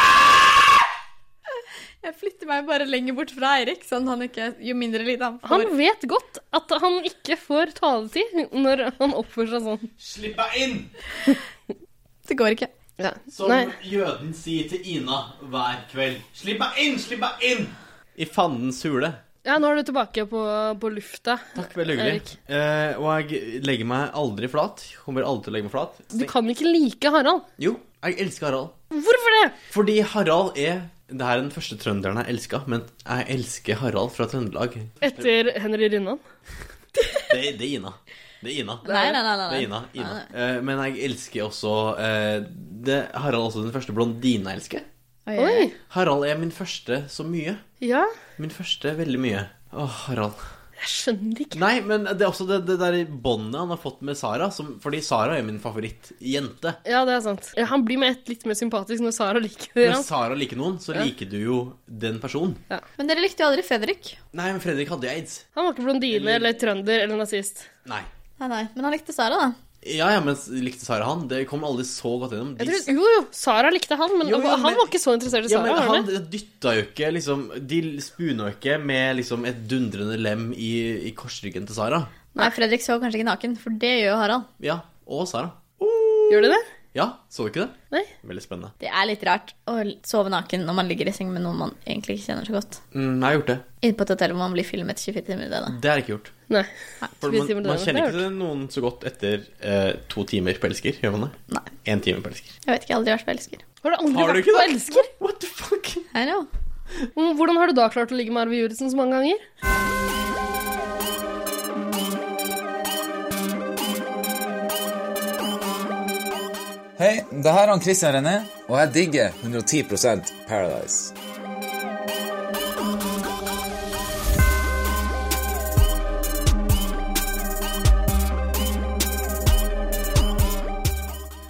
Jeg flytter meg bare lenger bort fra Eirik, sånn han ikke Jo mindre lyd han får. Han vet godt at han ikke får taletid når han oppfører seg sånn. Slipp meg inn! Det går ikke. Som Nei. jøden sier til Ina hver kveld. Slipp meg inn! Slipp meg inn! I fandens hule. Ja, nå er du tilbake på, på lufta. Takk, veldig hyggelig. Eh, og jeg legger meg aldri flat. Kommer aldri til å legge meg flat. Du kan ikke like Harald. Jo, jeg elsker Harald. Hvorfor det? Fordi Harald er Det her er den første trønderen jeg elska, men jeg elsker Harald fra Trøndelag. Etter Henry Rinnan. Det, det er Ina. Det er Ina. Nei, nei, nei. nei, Det nei. er Ina. Ina. Eh, men jeg elsker også eh, det, Harald er også den første blondinen jeg elsker. Oi, oi. Oi. Harald er min første så mye. Ja, Min første veldig mye. Åh, Harald. jeg skjønner ikke. Nei, men det er også det, det der båndet han har fått med Sara, som, fordi Sara er min favorittjente. Ja, det er sant. Ja, han blir med ett litt mer sympatisk når Sara liker altså. Hvis ham. Sara liker noen, så liker du jo den personen. Men dere likte jo aldri Fredrik. Nei, men Fredrik hadde jo aids. Han var ikke blondine eller trønder eller nazist. Nei. Nei, nei. Men han likte Sara, da. Ja, ja, men likte Sara han? Det kom aldri så godt gjennom. Jeg tror, jo, jo, Sara likte han, men Jo, jo, han men- var ikke så interessert i Ja, Sara. men var han han det? dytta jo ikke liksom De spuna jo ikke med liksom et dundrende lem i, i korsryggen til Sara. Nei, Fredrik så kanskje ikke naken, for det gjør jo Harald. Ja, og Sara. Gjør de det? Ja, så du ikke det? Nei. Veldig spennende. Det er litt rart å sove naken når man ligger i seng med noen man egentlig ikke kjenner så godt. Mm, jeg har gjort det. Inne på et hotell hvor man blir filmet 24 timer i døgnet. Det har jeg ikke gjort. Nei. For Skal vi man, si hvordan man det kjenner er? ikke noen så godt etter eh, to timer på elsker, gjør man det? Nei. En time på elsker. Jeg vet ikke, jeg har aldri vært forelsker. Har du aldri Har du vært ikke på det? elsker? What the fuck? I know. Hvordan har du da klart å ligge med Arve Juritzen så mange ganger? Hei, det her er han Christian René, og jeg digger 110 Paradise.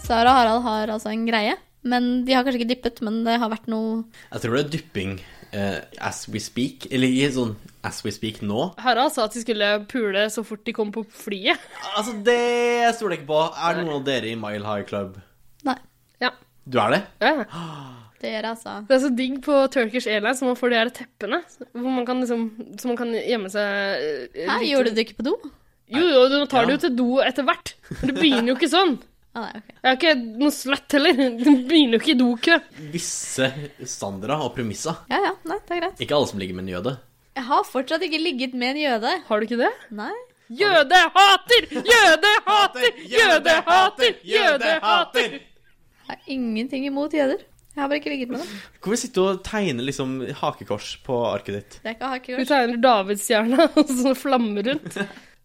Sara og Harald har altså en greie. Men de har kanskje ikke dippet, men det har vært noe Jeg tror det er dypping eh, as we speak. Eller i sånn as we speak nå. Harald sa at de skulle pule så fort de kom på flyet. Altså, det stoler jeg ikke på. Er det noen av dere i Mile High Club? Nei. Ja. Du er det? ja. Dere, altså. Det er så digg på Turkish Airlines når man får de her teppene, hvor man kan liksom, så man kan gjemme seg eh, Hæ, litt. gjorde du det ikke på do? Jo, jo, du tar det Ja. jo til do etter hvert. Men det begynner jo ikke sånn. Ah, nei, ok. Jeg er ikke noe sløtt heller. Det begynner jo ikke i dokø. Visse standarder og premisser. Ja, ja, nei, det er greit. Ikke alle som ligger med en jøde. Jeg har fortsatt ikke ligget med en jøde. Har du ikke det? Nei. Jødehater! Jødehater! Jødehater! Jødehater! Jeg har ingenting imot jøder. Jeg har bare ikke ligget med dem. Hvorfor sitter du og tegner liksom hakekors på arket ditt? Det er ikke hakekors. Du tegner davidsstjerna og sånne flammer rundt.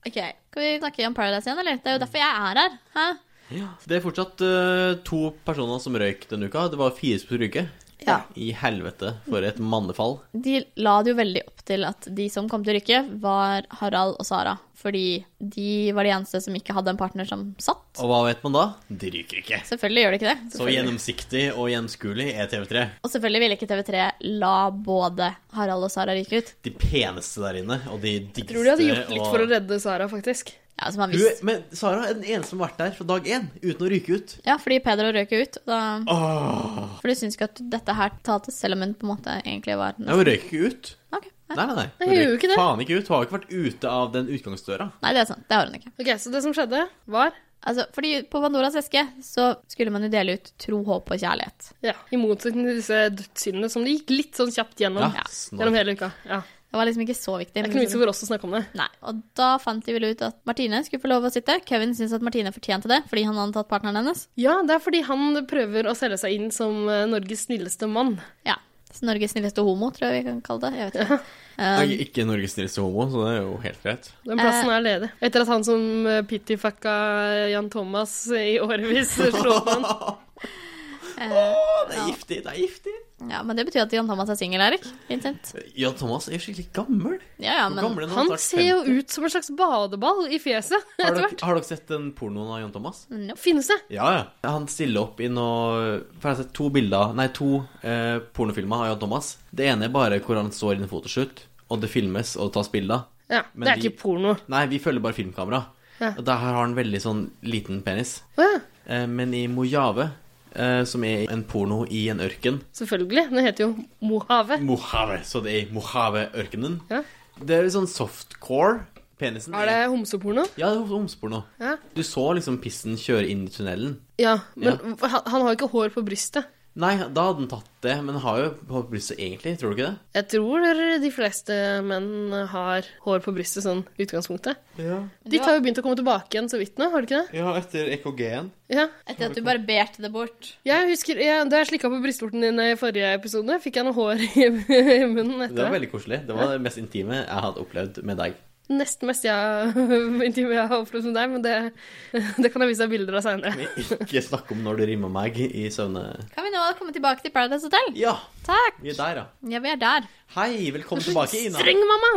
Ok, Skal vi snakke om Paradise igjen, eller? Det er jo derfor jeg er her. Hæ? Det er fortsatt eh, to personer som røyk denne uka. Det var fire som røyke. Ja. I helvete, for et mannefall. De la det jo veldig opp til at de som kom til å rykke, var Harald og Sara. Fordi de var de eneste som ikke hadde en partner som satt. Og hva vet man da? De ryker ikke. Selvfølgelig gjør de ikke det. Så Selvfølgelig. gjennomsiktig og gjennomskuelig er TV3. Og selvfølgelig ville ikke TV3 la både Harald og Sara ryke ut. De peneste der inne, og de diggeste Tror de hadde gjort litt og- for å redde Sara, faktisk. Ja, som han Hun, visste. men Sara er den eneste som har vært der fra dag én uten å ryke ut. Ja, fordi Pedro røk jo ut. og Da... For du syns ikke at dette her talte, selv om hun på en måte egentlig var Ja, hun røyker ikke ut. Ok, nei. Nei, nei, nei. Hun gjør jo ikke det. faen ikke ut. Hun har ikke vært ute av den utgangsdøra. nei, det er sant. Det har hun ikke. Ok, Så det som skjedde, var Altså, fordi på Pandoras eske så skulle man jo dele ut tro, håp og kjærlighet. ja, I motsetning til disse dødssyndene som det gikk litt sånn kjapt gjennom. Ja, Gjennom hele uka. Ja. Det var liksom ikke så viktig. Det er men ikke noe vits liksom- for oss å snakke om det. Nei, og da fant de vel ut at Martine skulle få lov å sitte. Kevin syntes at Martine fortjente det, fordi han hadde tatt partneren hennes. Ja, det er fordi han prøver å selge seg inn som eh, Norges snilleste mann. Ja, så Norges snilleste homo, tror jeg vi kan kalle det. Jeg vet ikke. Um. Jeg er ikke Norges snilleste homo, så det er jo helt greit. Den plassen er ledig. Etter at han som eh, pittyfucka Jan Thomas i årevis slo opp med han. Å, det er giftig, det er giftig. Ja, men det betyr at Jan Thomas er singel, Erik. Vincent. Jan Thomas er jo skikkelig gammel. Ja, ja, Hvor men gammel er Han Snart ser jo 50. ut som en slags badeball i fjeset Har etter dere, hvert. Mm. har dere sett den pornoen av Jan Thomas? Finnes det? Ja, ja. Han stiller opp i noe For jeg har sett to bilder Nei, to eh, pornofilmer av Jan Thomas. Det ene er bare hvor han står i en fotoshoot, og det filmes og tas bilder. Ja, Men Det er de- ikke porno. Nei, vi følger bare filmkamera. Ja. Og der har han veldig sånn liten penis. Å ja, Eh, men i Mojave, eh, som er en porno i en ørken selvfølgelig. Den heter jo Mojave. Mojave, så det er i Mojave-ørkenen. Ja. Det er litt sånn softcore. Penisen Er det homseporno? Ja, det er homseporno. Ja. Du så liksom pissen kjøre inn i tunnelen. Ja, men Ja. h- han, han har jo ikke hår på brystet. Nei, da hadde han tatt det, men han har jo på brystet egentlig, tror du ikke det? Jeg tror de fleste menn har hår på brystet sånn i utgangspunktet. Ja, Ditt har jo begynt å komme tilbake igjen så vidt nå, har det ikke det? etter E EKG-en. Ja. Etter at du barberte det bort. Jeg husker, jeg, Da jeg slikka på brystvorten din i forrige episode, fikk jeg noe hår i, i munnen Det var etter det. veldig koselig. Det var det mest intime jeg hadde opplevd med deg. Nesten mest jeg, intime jeg har opplevd med deg, men det, det kan jeg vise deg bilder av seinere. Men ikke snakk om når du rimmer meg i søvne... Kan vi nå komme tilbake til Paradise Hotel? Ja, Takk! vi er der, ja. Ja, vi er der. Hei, velkommen tilbake, Ina. Streng, mamma!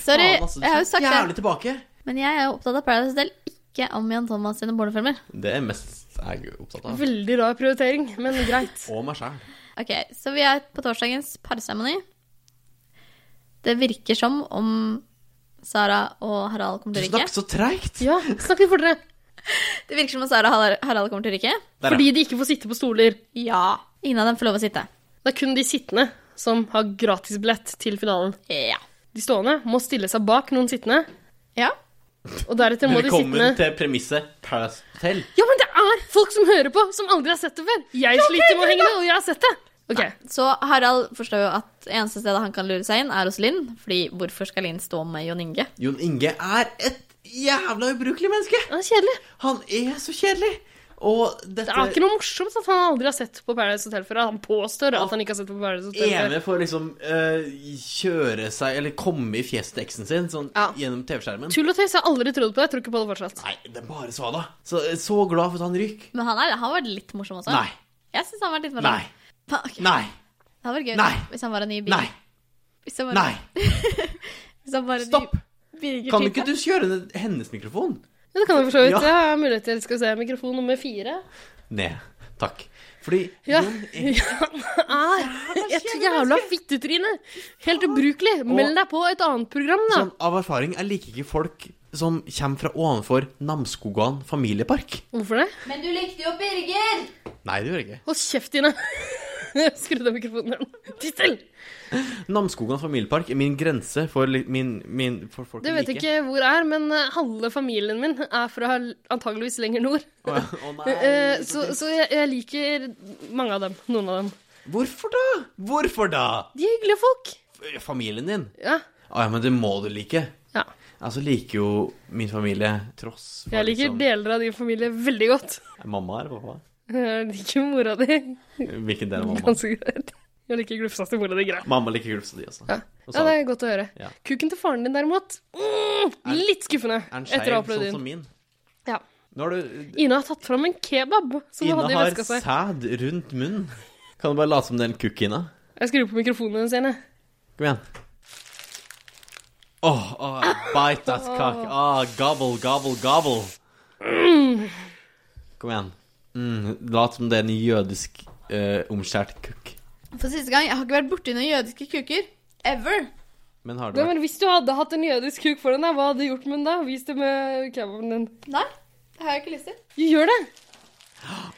Sorry, Faen, altså, du jeg har jo så sagt jævlig det. tilbake. Men jeg er jo opptatt av Paradise Hotel, ikke om Jan Thomas sine pornofilmer. Det er mest jeg er opptatt av. Veldig rar prioritering, men greit. Og meg sjæl. Ok, så vi er på torsdagens parseremoni. Det virker som om Sara og Harald kommer Du til å snakker rykke. så treigt. Ja, snakk litt fortere. Det virker som om Sara og Har- Harald kommer til å rykke. Der, Fordi de ikke får sitte på stoler. Ja. Ingen av dem får lov å sitte. Det er kun de sittende som har gratisbillett til finalen. Ja. De stående må stille seg bak noen sittende, Ja. og deretter må de sittende Velkommen til premisset Paradise Hotel. Ja, men det er folk som hører på, som aldri har sett det før. Jeg sliter med å henge med, og jeg har sett det. Ok, Så Harald forstår jo at eneste stedet han kan lure seg inn, er hos Linn. Fordi hvorfor skal Linn stå med Jon Inge? Jon Inge er et jævla ubrukelig menneske. det er kjedelig. Han er så kjedelig. Og Det dette er ikke noe morsomt at han aldri har sett på Paradise Hotel før. at Han påstår at han ikke har sett på Paradise Hotel før. ene for å liksom eh, kjøre seg Eller komme i fjeset til eksen sin sånn, Ja. gjennom TV-skjermen. Tull og tøys jeg har aldri trodd på. Jeg tror ikke på det fortsatt. Nei, det er bare svada. Så, eh, så glad for at han ryker. Men han, er, han har vært litt morsom også. Nei. Jeg syns han har vært litt morsom. Nei. Pa- ok. Nei. Det hadde vært gøy Nei. hvis han var en ny Nei. Birger. Hvis han var, Nei. Hvis han var en Stopp! ny Birger Kan Type. ikke du kjøre ned hennes mikrofon? Ja, det kan jeg for så vidt. Ja. Jeg har mulighet til skal vi se mikrofon nummer fire. Ned. Takk. Fordi Ja. Jon er Er et jævla fittetryne! Helt ubrukelig. Meld deg på et annet program, da. sånn, av erfaring Jeg liker ikke folk som kommer fra ovenfor Namsskogan familiepark. Hvorfor det? Men du likte jo Birger! Nei, det gjør jeg ikke. Hold kjeft, Ine. Skru av mikrofonen igjen. Tittel! Namsskogan familiepark er min grense for li- min, min for folk Du vet jeg liker. ikke hvor er, men eh, halve familien min er fra l- antageligvis lenger nord. Å, ja. Å, nei. Eh, Så, så jeg, jeg liker mange av dem. Noen av dem. Hvorfor da? Hvorfor da? De er hyggelige folk. F- Familien din. Ja. Å ja, men det må du like. ja. Altså liker jo min familie tross for Jeg liksom- liker deler av din familie veldig godt. Mamma eller pappa? Jeg liker mora di Hvilken del av mamma? ganske greit. Jeg liker glufsa til mora di greit. Mamma liker gulvstøtte, altså. Ja. Og ja, så- det er godt å høre. Ja. Kuken til faren din derimot mm, Litt skuffende Er den etter å ha skeiv, opplevd sånn din. som min? Ja. Nå har du Ina har tatt fram en kebab som hun Ina hadde i har veska si. sæd rundt munnen. Kan du bare late som det er en kukk, Ina? Jeg skrur på mikrofonen hennes igjen, jeg. Kom igjen. Åh, åh, bite that cock. Åh, gobble, gobble, gobble. Kom igjen. Mm, lat som det er en jødisk eh, omskjært kukk. For siste gang, jeg har ikke vært borti noen jødiske kuker. Ever. Men har du Nei, men hvis du hadde hatt en jødisk kuk for den, da, hva hadde du gjort med den da? Vis det med kebaben din. Nei, det har jeg ikke lyst til. Jo, gjør det! Åh,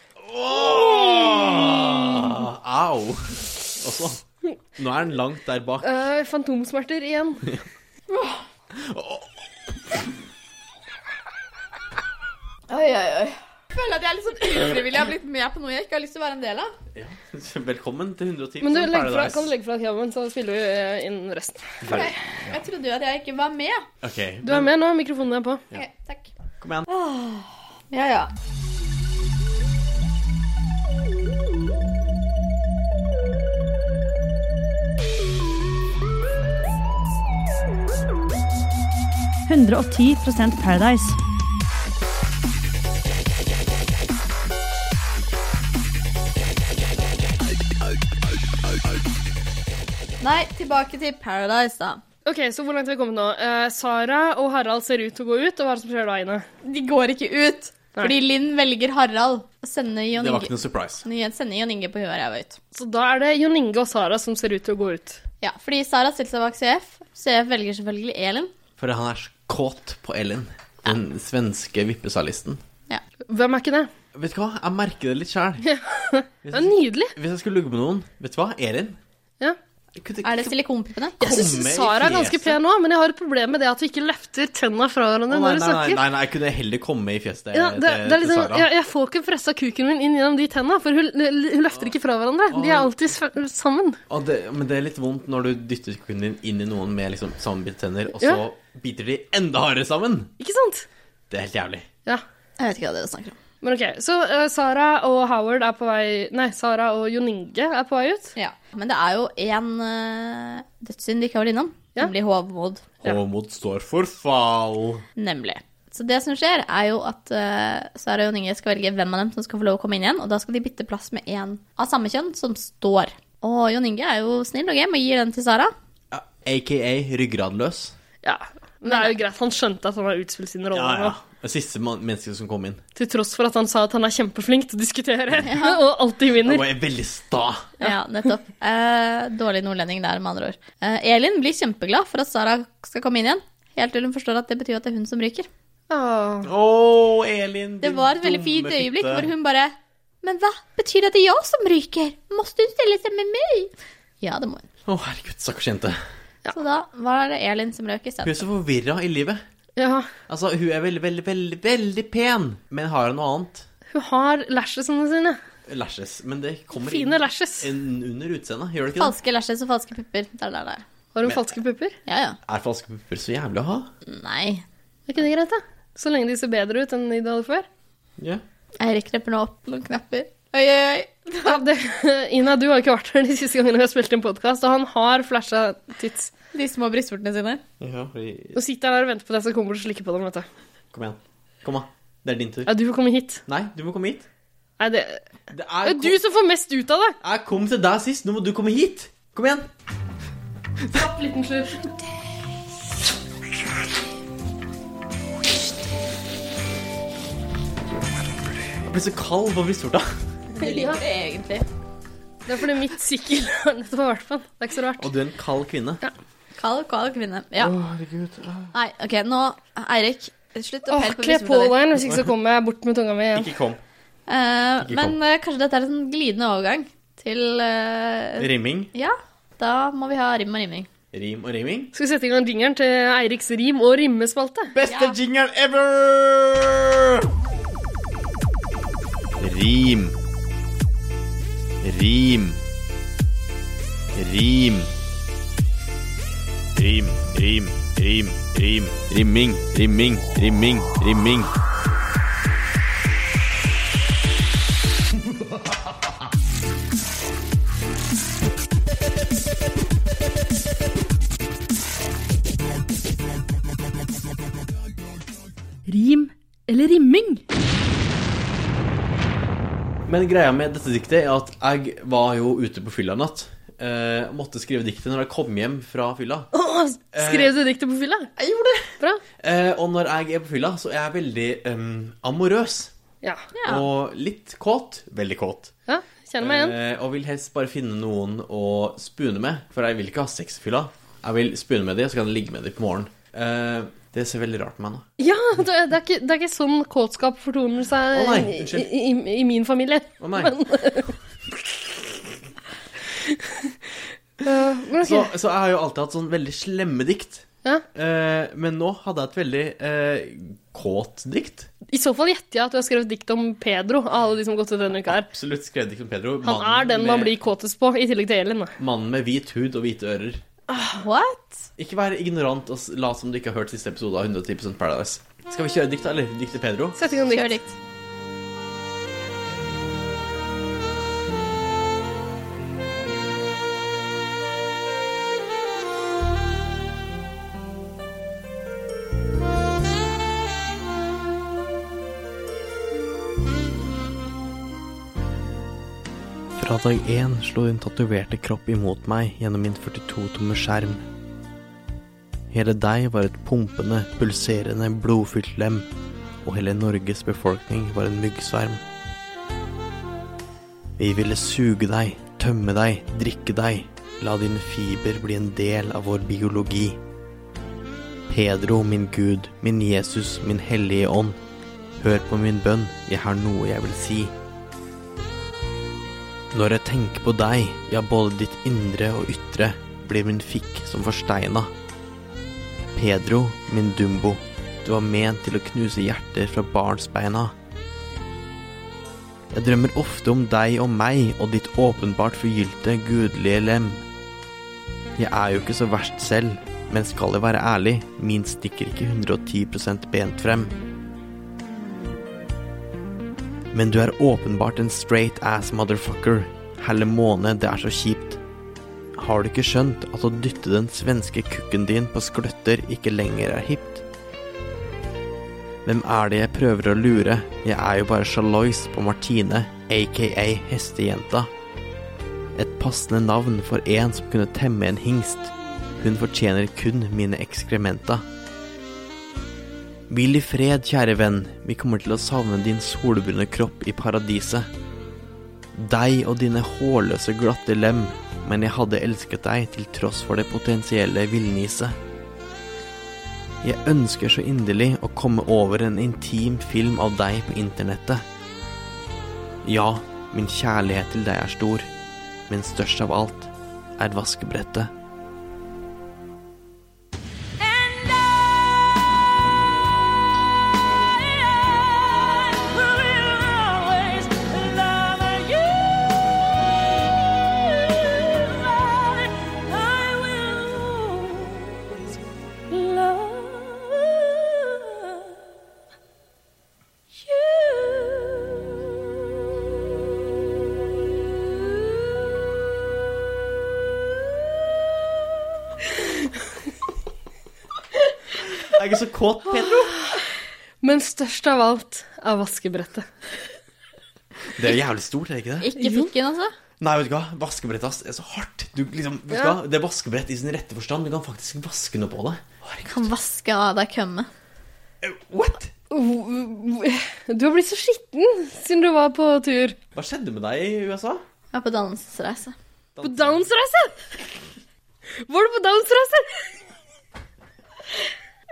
Au! Og så Nå er den langt der bak. Eh, fantomsmerter igjen. Oi, oi, oi. Jeg føler at jeg er litt sånn ufrivillig har blitt med på noe jeg ikke har lyst til å være en del av. Ja. Velkommen til 110 Men du, legg som fra, Sånn Paradise. kan du legge fra deg kebaben, så spiller vi eh, inn resten. Ferdig. Jeg trodde jo at jeg ikke var med. Ok, Du er med nå, mikrofonen er på. Ok, takk. kom igjen. Ah, Ja, ja. Nei, tilbake til Paradise, da. Ok, så hvor langt har vi kommet nå? Eh, Sara og Harald ser ut til å gå ut, og hva er det som skjer da, Ine? De går ikke ut. Fordi Linn velger Harald å sende Jon Det var ikke Inge, noe surprise. sende Jon Inge på huet og ræva ut. Så da er det Jon Inge og Sara som ser ut til å gå ut. Ja, fordi Sara stilte seg bak CF. CF velger selvfølgelig Elin. For han er så kåt på Ellen, den svenske vippesalisten. Ja. Hvem er ikke det? Vet du hva, jeg merker det litt sjæl. Det er nydelig. Hvis jeg skulle ligge med noen, vet du hva, Elin Ja. jeg kunne Er det ikke- silikonpippene? Jeg Komme i syns Sara er ganske fjeset. pen nå, men jeg har et problem med det at hun ikke løfter tenna fra Å, hverandre nei, når hun nei, nei, snakker. nei, nei, jeg kunne heller komme i fjeset Ja, det, eh, til, det er til liksom, Sara. jeg, jeg får ikke pressa kuken min inn gjennom de tenna, for hun, hun løfter ikke fra hverandre. De er alltid sv- sammen. Og det, men det er litt vondt når du dytter kukken din inn i noen med liksom sammenbitte tenner, og så Ja. biter de enda hardere sammen. Ikke sant? Det er helt jævlig. Ja. Jeg vet ikke hva dere snakker om. Men OK, så eh, Sara og Howard er på vei Nei, Sara og Jon Inge er på vei ut. Ja. Men det er jo én uh, dødssynd de ikke har vært innom, Ja. nemlig hovmod. Ja. Håmod står for fall. Nemlig. Så det som skjer, er jo at eh, Sara og Jon Inge skal velge hvem av dem som skal få lov å komme inn igjen, og da skal de bytte plass med en av samme kjønn som står. Og Jon Inge er jo snill og game og gir den til Sara. Ja, AKA ryggradløs. Ja. Men det er jo greit, han skjønte at han har utspilt sin rolle Ja, ja. nå. Det siste man- mennesket som kom inn. Til tross for at han sa at han er kjempeflink til å diskutere og alltid Han vinner. var veldig sta. Ja, nettopp. Eh, dårlig nordlending der, med andre ord. Eh, Elin blir kjempeglad for at Sara skal komme inn igjen, helt til hun forstår at det betyr at det er hun som ryker. Åh. Å, Elin. Det din var et veldig dumme fint øyeblikk fitte. hvor hun bare Men hva? Betyr det at det er jeg som ryker? Måste hun stille seg med meg? Ja, det må hun. Å, herregud, stakkars jente. Så da var det Elin som røk Hun isteden. er så forvirra i livet. Ja. Altså, hun er veldig, veldig, veldig veldig pen, men har hun noe annet? Hun har lashesene sine. Lashes. Men det kommer Fine inn lashes. en- under utseendet, gjør det ikke det? Falske lashes og falske pupper. Der, der, der. Har hun falske pupper? Ja, ja. Er falske pupper så jævlig å ha? Nei. Er ikke det greit, da? Så lenge de ser bedre ut enn de du hadde før. Ja. Jeg rekner nå opp noen knapper. Oi, oi, oi. Ja, det, Ina, du har jo ikke vært her de siste gangene vi har spilt inn podkast, og han har flasha tits. De små brystvortene sine. Ja, fordi- Nå sitter han her og venter på deg, så kommer du til å slikke på dem, vet du. Kom igjen. Kom, da. Det er din tur. Ja, du får komme hit. Nei, du må komme hit. Nei, det Det Det er er du som får mest ut av det! Jeg kom til deg sist. Nå må du komme hit. Kom igjen. Trapp, liten slurk. Jeg ble så kald på brystvorta. Jeg liker det egentlig. Det er fordi mitt sykkel har nettopp vært på den. Det er ikke så rart. Og du er en kald kvinne. Kald, kald kvinne. Ja. Nei, OK, nå Eirik, slutt å Åh, pelle på kle på brystvortene. deg, hvis ikke så kommer jeg bort med tunga mi igjen. Ikke kom. Eh, Ikke men eh, kanskje dette er en sånn glidende overgang til eh, Rimming. Ja, da må vi ha rim og riming. Rim og rimming. Skal vi sette i gang jingeren til Eiriks rim- og rimmespalte? Beste jingle ever! Rim. Rim. Rim. Rim, rim, rim, rim. Rimming, rimming, rimming, rimming. Rim eller rimming? Men greia med dette diktet er at jeg var jo ute på fylla en natt. Eh, måtte skrive diktet når jeg kom hjem fra fylla. Åh, Eh. skrev du diktet på fylla? Jeg gjorde det! Bra. Eh, og når jeg er på fylla, så er jeg veldig em, amorøs. Ja. Ja. Og litt kåt. Veldig kåt. ja. Kjenner meg igjen. Eh, og vil helst bare finne noen å spune med, for jeg vil ikke ha sex i fylla. Jeg vil spune med dem, så kan jeg ligge med dem på morgenen. Eh, det ser veldig rart på meg nå. Ja, det er, det er, ikke, det er ikke sånn kåtskap fortoner seg Å nei, i, unnskyld. i, i min familie. Å nei. Men, Eh, men ok. Så, så jeg har jo alltid hatt sånn veldig slemme dikt. Ja. Eh, men nå hadde jeg et veldig eh, kåt dikt. I så fall gjetter jeg at du har skrevet dikt om Pedro. av Alle de som har gått ut denne uka her. Absolutt skrevet dikt om Pedro. Han mannen er den man med- blir kåtest på, i tillegg til Elin. da. Mannen med hvit hud og hvite ører. What? Ikke vær ignorant og s- lat som du ikke har hørt siste episode av 110 Paradise. Skal vi kjøre dikt, da, eller? Dikt til Pedro? Sett i gang Kjør dikt. dikt. Fra dag én slo din tatoverte kropp imot meg gjennom min 42-tomme skjerm. Hele deg var et pumpende, pulserende, blodfylt lem, og hele Norges befolkning var en myggsverm. Vi ville suge deg, tømme deg, drikke deg, la din fiber bli en del av vår biologi. Pedro, min Gud, min Jesus, min hellige ånd, hør på min bønn, jeg har noe jeg vil si. Når jeg tenker på deg, ja, både ditt indre og ytre, blir min fikk som forsteina. Pedro, min dumbo, du var ment til å knuse hjerter fra barnsbeina. Jeg drømmer ofte om deg og meg og ditt åpenbart forgylte, gudelige lem. Jeg er jo ikke så verst selv, men skal jeg være ærlig, min stikker ikke 110 bent frem. Men du er åpenbart en straight ass motherfucker. Helle måne, det er så kjipt. Har du ikke skjønt at å dytte den svenske kukken din på skløtter ikke lenger er hipt? Hvem er det jeg prøver å lure? Jeg er jo bare Charlois på Martine, aka Hestejenta. Et passende navn for en som kunne temme en hingst. Hun fortjener kun mine ekskrementa. Hvil i fred, kjære venn. Vi kommer til å savne din solbrune kropp i paradiset. Deg og dine hårløse, glatte lem. Men jeg hadde elsket deg til tross for det potensielle villniset. Jeg ønsker så inderlig å komme over en intim film av deg på internettet. Ja, min kjærlighet til deg er stor, men størst av alt er vaskebrettet. Love you. Jeg er ikke så kåt, Pedro. Men størst av alt er vaskebrettet. Det er jævlig stort, er det ikke det? Ikke fikken, altså. Nei, vet du hva? Vaskebrett ass, er så hardt. Du, liksom, vet du Ja. hva? Det er vaskebrett i sin rette forstand. Du kan faktisk vaske noe på det. Herregud. Kan vaske av deg kømme. What? Du har blitt så skitten siden du var på tur. Hva skjedde med deg i USA? Jeg er på dannelsesreise. På downsreise! Var du på downsreise?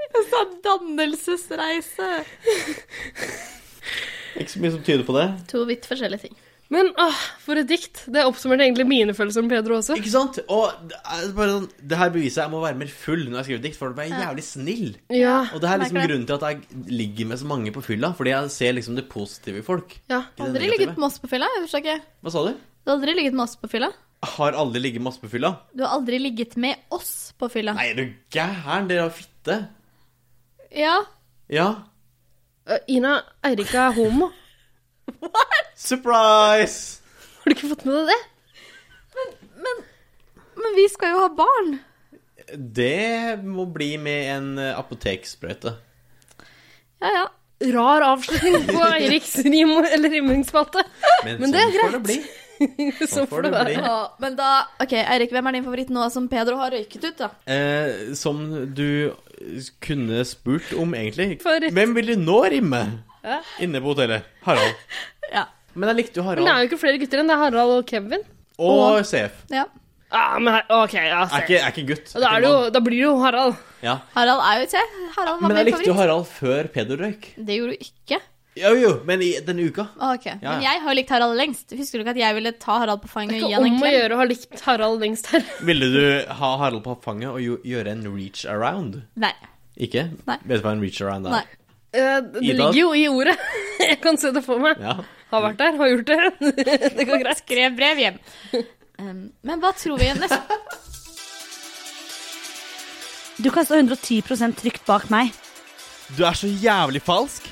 Jeg sa dannelsesreise! Ikke så mye som tyder på det. To vidt forskjellige ting. Men åh, for et dikt. Det oppsummerte egentlig mine følelser om Pedro også. Ikke sant? Og det er bare sånn, det her beviser jeg må være mer full når jeg skriver dikt, for da blir jeg jævlig snill. Ja. Og det her er liksom Merker det. grunnen til at jeg ligger med så mange på fylla, fordi jeg ser liksom det positive i folk. ja. Ikke det Aldri negative. ligget med oss på fylla. Jeg forstår ikke. Hva sa du? Du har aldri ligget med oss på fylla. Har alle ligget masse på fylla? Du har aldri ligget med oss på fylla. Nei, er du gæren? Dere har fitte. Ja. Ja. Øh, Ina, Eirik er homo. Surprise! Har du ikke fått med deg det? Men vi skal jo ha barn. Det må bli med en eh, apoteksprøyte. Ja, ja. Rar avslutning på Eiriks rim eller rimingsspalte. Men det er sånn får greit. det bli. Sånn får det det bli. være. Å, men da OK, Eirik, hvem er din favoritt nå som Pedro har røyket ut, da? Eh, som du kunne spurt om, egentlig. Favoritt. Hvem vil du nå rimme inne på hotellet? Harald. Ja. Men jeg likte jo Men det er Harald jo ikke flere gutter enn det er Harald og Kevin. og CF. ja. Ah, men her, ok, ja, Jeg er se. ikke, jeg er ikke gutt. Og Da, jeg er er det ikke jo, mann. da blir det jo Harald. Ja. Harald er jo til. Harald var Men jeg min likte jo favoritt. Harald før Peder røyk. Det gjorde du ikke. Jo, jo, men i denne uka. Å, ok. Men jeg har jo likt Harald lengst. Husker du ikke at jeg ville ta Harald på fanget og Ikke gi han en om å klem? gjøre å ha likt Harald lengst her. Ville du ha Harald på fanget og jo- gjøre en reach around? Nei. Ikke? Nei. Vet du hva en reach around er? Nei. Eh, Det det Ida? ligger jo i ordet. Jeg kan se det for meg. Ja. Har vært der, har gjort det. Det går greit. Skrev brev hjem. Um, men hva tror vi neste Du kan stå 110 trygt bak meg. Du er så jævlig falsk.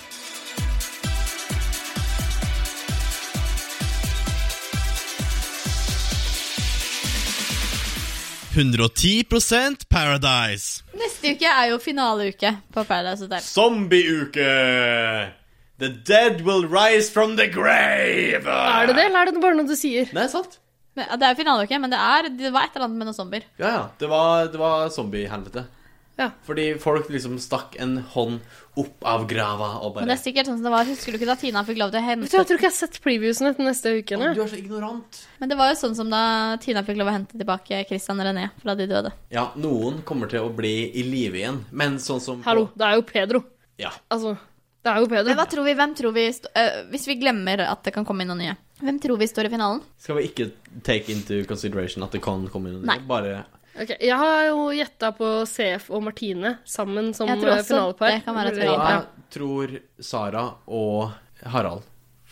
«110% Paradise Neste uke er jo finaleuke på Paradise Hotel. Zombieuke! The dead will rise from the grave! Er det det, eller er det bare noe du sier? Nei, sant? Men, ja, det er jo finaleuke, men det, er, det var et eller annet med noen zombier. Ja, ja. Det var, det var zombiehelvete. Ja. Fordi folk liksom stakk en hånd opp av grava og Men det bare er sikkert sånn som det var. Husker du ikke da Tina fikk lov til å Vet du, Jeg hente tror ikke jeg har sett previewsene til neste uke. Å, Nei. Du er så ignorant. Men det var jo sånn som da Tina fikk lov å hente tilbake Christian René fra de døde. Ja, noen kommer til å bli i live igjen, men sånn som Hallo, det er jo Pedro. Ja. Altså, det er jo Men hva Pedro. tror vi, hvem tror vi st øh, Hvis vi glemmer at det kan komme inn noen nye, hvem tror vi står i finalen? Skal vi ikke take into consideration at det kan komme inn Nei. Bare Ok, jeg har jo gjetta på CF og Martine sammen som Jeg tror eh, også finalepar. det kan være et Eller- finale. Ja. Jeg tror Sara og Harald.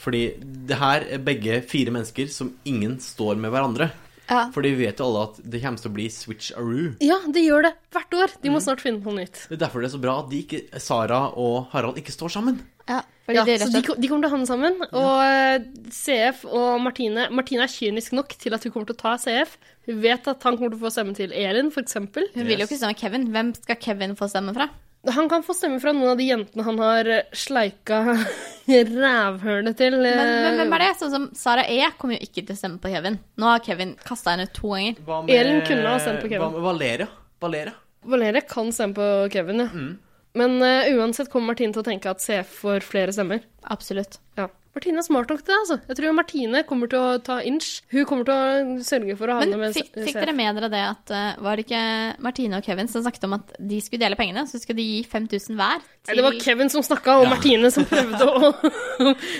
Fordi det her er begge fire mennesker som ingen står med hverandre. Ja. Fordi vi vet jo alle at det kommer til å bli switch-aroo. Ja, det gjør det. Hvert år. De må Mm. snart finne på noe nytt. Det er derfor det er så bra at de ikke, Sara og Harald ikke står sammen. Ja, fordi Ja, så det rett og de, slett ko- de kommer til å havne sammen. Og eh, CF og Martine Martine er kynisk nok til at hun kommer til å ta CF. Hun vet at han kommer til å få stemme til Elin, f.eks. Hun vil jo ikke stemme Kevin. Hvem skal Kevin få stemme fra? Han kan få stemme fra noen av de jentene han har eh, sleika rævhølet til. eh, Men, men hvem er det? Sånn som Sara E kommer jo ikke til å stemme på Kevin. Nå har Kevin kasta henne ut to ganger. Hva Elin kunne ha stemt på Kevin. Hva med Valeria? Valeria? Valeria kan stemme på Kevin, ja. Men eh, uansett kommer Martine til å tenke at CF får flere stemmer. Absolutt. Ja. Martine er smart nok til det, altså. Jeg tror Martine kommer til å ta inch. Hun kommer til å sørge for å Men havne med fikk, CF. fikk dere med dere det at eh, Var det ikke Martine og Kevin som snakket om at de skulle dele pengene? Så skulle de gi 5000 hver Nei, til Det var Kevin som snakka, og Martine som prøvde å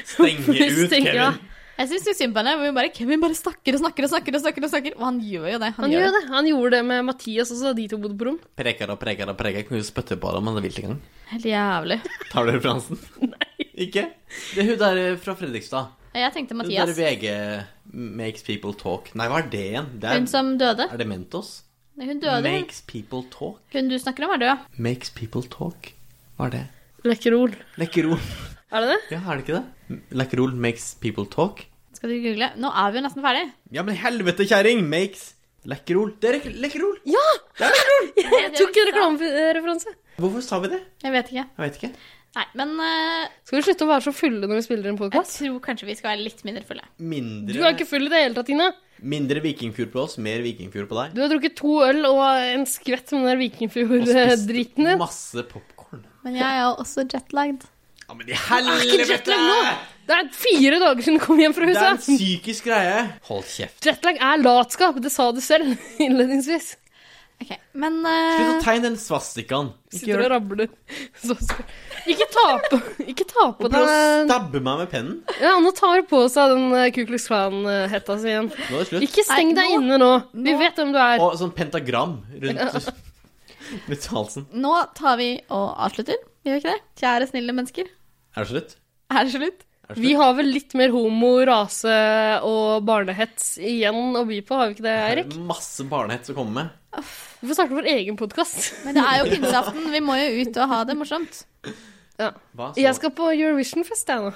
Stenge ut Stenge, Kevin. ja. Jeg syns jo synd på henne. hvor hun Bare, Kevin bare snakker og snakker og snakker. Og snakker og snakker Og han gjør jo det. Han, Han gjør det. Han gjorde det med Mathias også, da de to bodde på rom. Preker og preker og preker. Kan jo spytte på dem, men det vil ikke engang. Helt jævlig. Tar du referansen? Nei. Ikke? Det er hun der eh, fra Fredrikstad. Jeg tenkte Hun der Mathias. VG makes people talk. Nei, hva er det igjen? Det er, Hun som døde. er det Mentos? Hun døde. hun. Makes people talk. Hun du snakker om, er død. Makes people talk. Hva er det? Lekkerol. Lekkerol. Er det det? Ja, er det ikke det? Lekkerol makes people talk. Skal du google? Nå er vi jo nesten ferdig. Ja, men helvete, kjerring! Makes Lekkerol. Det er rek- lekkerol! Ja! Det er lekkerol! Jeg tok en reklamereferanse. Hvorfor sa vi det? Jeg vet ikke. Jeg vet ikke. Nei, men eh, Skal vi slutte å være så fulle når vi spiller en jeg podkast? tror kanskje vi skal være litt mindre fulle. Du Mindre, er ikke full i det hele tatt, Tina. mindre vikingfjord på oss, mer vikingfjord på deg. Du har drukket to øl og en skvett med den der Og spist Vikingfjord-driten eh, din. masse popkorn. Men jeg er også jetlagd. Ja, men i Ikke helvete! jetlag nå! Det er fire dager siden du kom hjem fra Det er en huset. psykisk greie. Hold kjeft. Jetlag er latskap, det sa du selv innledningsvis. Ok, men Slutt å eh, tegne den svastikaen. Ikke Sitter gjør og det. rabler. Så skal- Ikke ta på Ikke ta på Prøv å den stabbe meg med pennen. Ja, nå tar hun på seg den eh, Ku Klux Klan-hetta si igjen. Nå er det slutt. Ikke steng Nei, deg nå- inne nå. Vi nå- vet hvem du er. Og sånn pentagram rundt rundt halsen. nå tar vi og avslutter. Gjør vi ikke det? Kjære, snille mennesker. Er det slutt? Er det slutt? Er det Vi slutt? har vel litt mer homo, rase og barnehets igjen å by på, har vi ikke det, Eirik? Masse barnehets å komme med. Vi får starte vår egen podkast. Men det er jo pinseaften. Vi må jo ut og ha det morsomt. Hva så? Jeg skal på Eurovision-fest, jeg nå.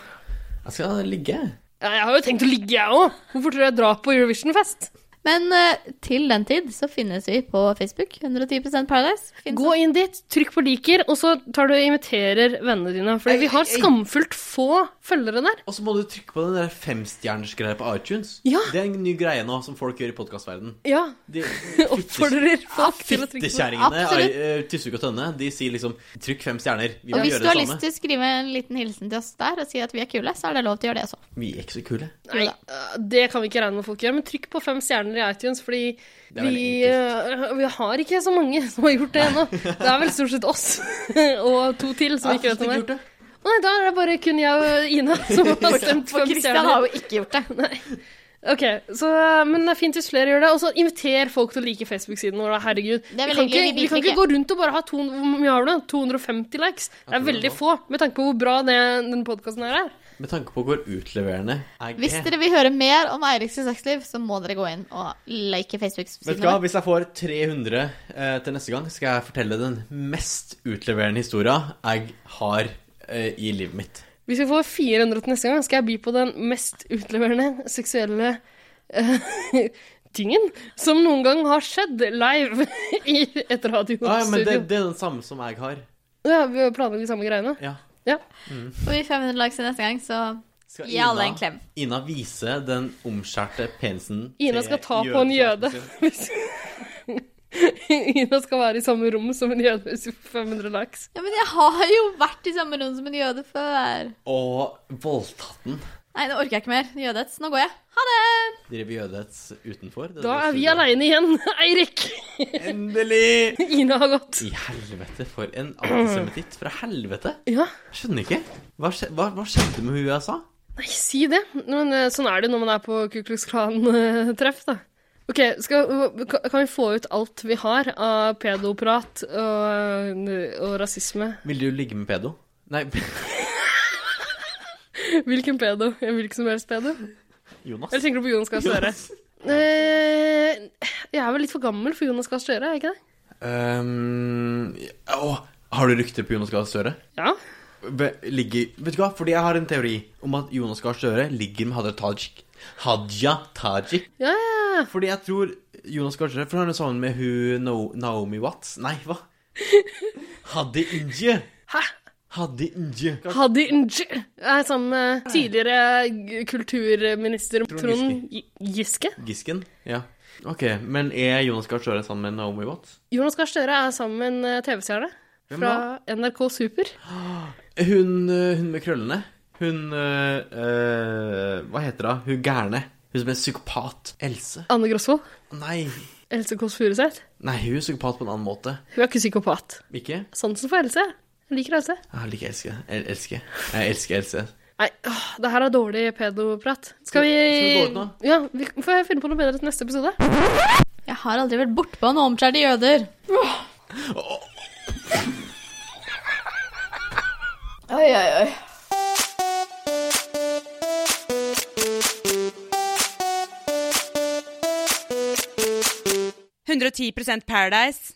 Jeg skal ligge. Ja, jeg har jo tenkt å ligge, jeg òg. Hvorfor tror du jeg drar på Eurovision-fest? Men eh, til den tid så finnes vi på Facebook. 110 Paradise. Finnes Gå inn dit, trykk på liker, og så tar du og inviterer vennene dine. For vi har skamfullt få følgere der. Og så må du trykke på den der femstjernersgreia på iTunes. Ja. Det er en ny greie nå som folk gjør i podkastverdenen. Ja, Oppfordrer folk til å trykke på. Fittekjerringene Absolutt. eh, Tusvik og Tønne De sier liksom 'trykk fem stjerner'. Vi Og må hvis gjøre du har det lyst samme. til å skrive en liten hilsen til oss der og si at vi er kule, så er det lov til å gjøre det også. Vi er ikke så kule. Nei, eh, det kan vi ikke regne med folk gjør. Men trykk på fem stjerner i iTunes, fordi er veldig vi, eh, vi har ikke så mange som har gjort det ennå. Det er vel stort sett oss og to til som ikke Jeg har vet om gjort det. det. Å Nei, da er det bare kun jeg og Ina som har stemt For fem Christian stjerner. har jo ikke gjort det. Ok, så, men det er fint hvis flere gjør det. Og så inviter folk til å like Facebook-siden vår. da. Herregud. er veldig vi kan, hyggelig, ikke, vi vi kan biter ikke gå rundt og bare ha to, hvor mye har du? da? 250 likes. Det er tror det veldig er få, med tanke på hvor bra det, den podkasten her er. Med tanke på hvor utleverende jeg Hvis er. dere vil høre mer om Eiriks sexliv, så må dere gå inn og like Vet Facebook-siden du hva, vår. Hvis jeg får 300 eh, til neste gang, skal jeg fortelle den mest utleverende historien jeg har eh, i livet mitt. Hvis vi får 400 til neste gang, skal jeg by på den mest utleverende seksuelle eh, tingen som noen gang har skjedd live i et radiostudio. Ah, ja, men det, det er den samme som jeg har. Ja, vi planlegger de samme greiene. Ja. Ja. Får vi 500 likes til neste gang, så Skal Gi alle en klem. Ina vise den omskjærte penisen Ina til skal ta på en jøde. jødekjæresten sin? Ina skal være i samme rom som en jøde hvis vi får 500 likes. Ja, men jeg har jo vært i samme rom som en jøde før. Og voldtatt den. Nei, nå orker jeg ikke mer jødehets. Nå går jeg. Ha det! Drev jødehets utenfor. det Da der er vi studioet. aleine igjen, Eirik. Endelig! Ina har gått. I helvete, for en antisemitt fra helvete. Ja, Jeg skjønner ikke. Hva, skje, hva, hva skjedde med hun jeg sa? nei, si det. Men eh, sånn er det når man er på Ku Klux Klan-treff, da. Ok, skal, kan kan vi få ut alt vi har av pedoprat og, eh, og rasisme? Vil du ligge med pedo? Nei, Hvilken pedo? Ja, Hvilken som helst pedo? Jonas. Eller tenker du på Jonas Gahr Støre? Jonas. Eh, jeg er vel litt for gammel for Jonas Gahr Støre, er jeg ikke det? Ehm, å, har du rykter på Jonas Gahr Støre? Ja. Ve- Ligger, vet du hva, fordi jeg har en teori om at Jonas Gahr Støre ligger med Hadia Tajik. Hadia Tajik. Ja, ja, ja. Fordi jeg tror Jonas Gahr Støre For han er sammen med hun no, Naomi Watts. Nei, hva? Hadde Inje. Hæ? Hadde Inje. Hadi Nj er sammen med tidligere g- kulturminister Trond Trond Gi- Giske. Gisken. Ja. Ok, men er Jonas Gahr Støre sammen med Naomi Watts? Jonas Gahr Støre er sammen med en eh, TV-stjerne Hvem fra NRK Super. Hun, øh, hun med krøllene. Hun øh, øh, Hva heter hun? Hun gærne. Hun som er psykopat. Else. Anne Grosvold. Nei. Else Kåss Furuseth. Nei, hun er psykopat på en annen måte. Hun er ikke psykopat. Ikke? Sansen for Else. Jeg liker Else. Jeg liker Else. Jeg elsker Jeg elsker Else. Nei, åh, det her er dårlig pedoprat. Skal vi Skal vi gå ut nå? Ja, vi får finne på noe bedre til neste episode. Jeg har aldri vært bortpå noen omskjærte jøder. Oi, oi, oi. Paradise.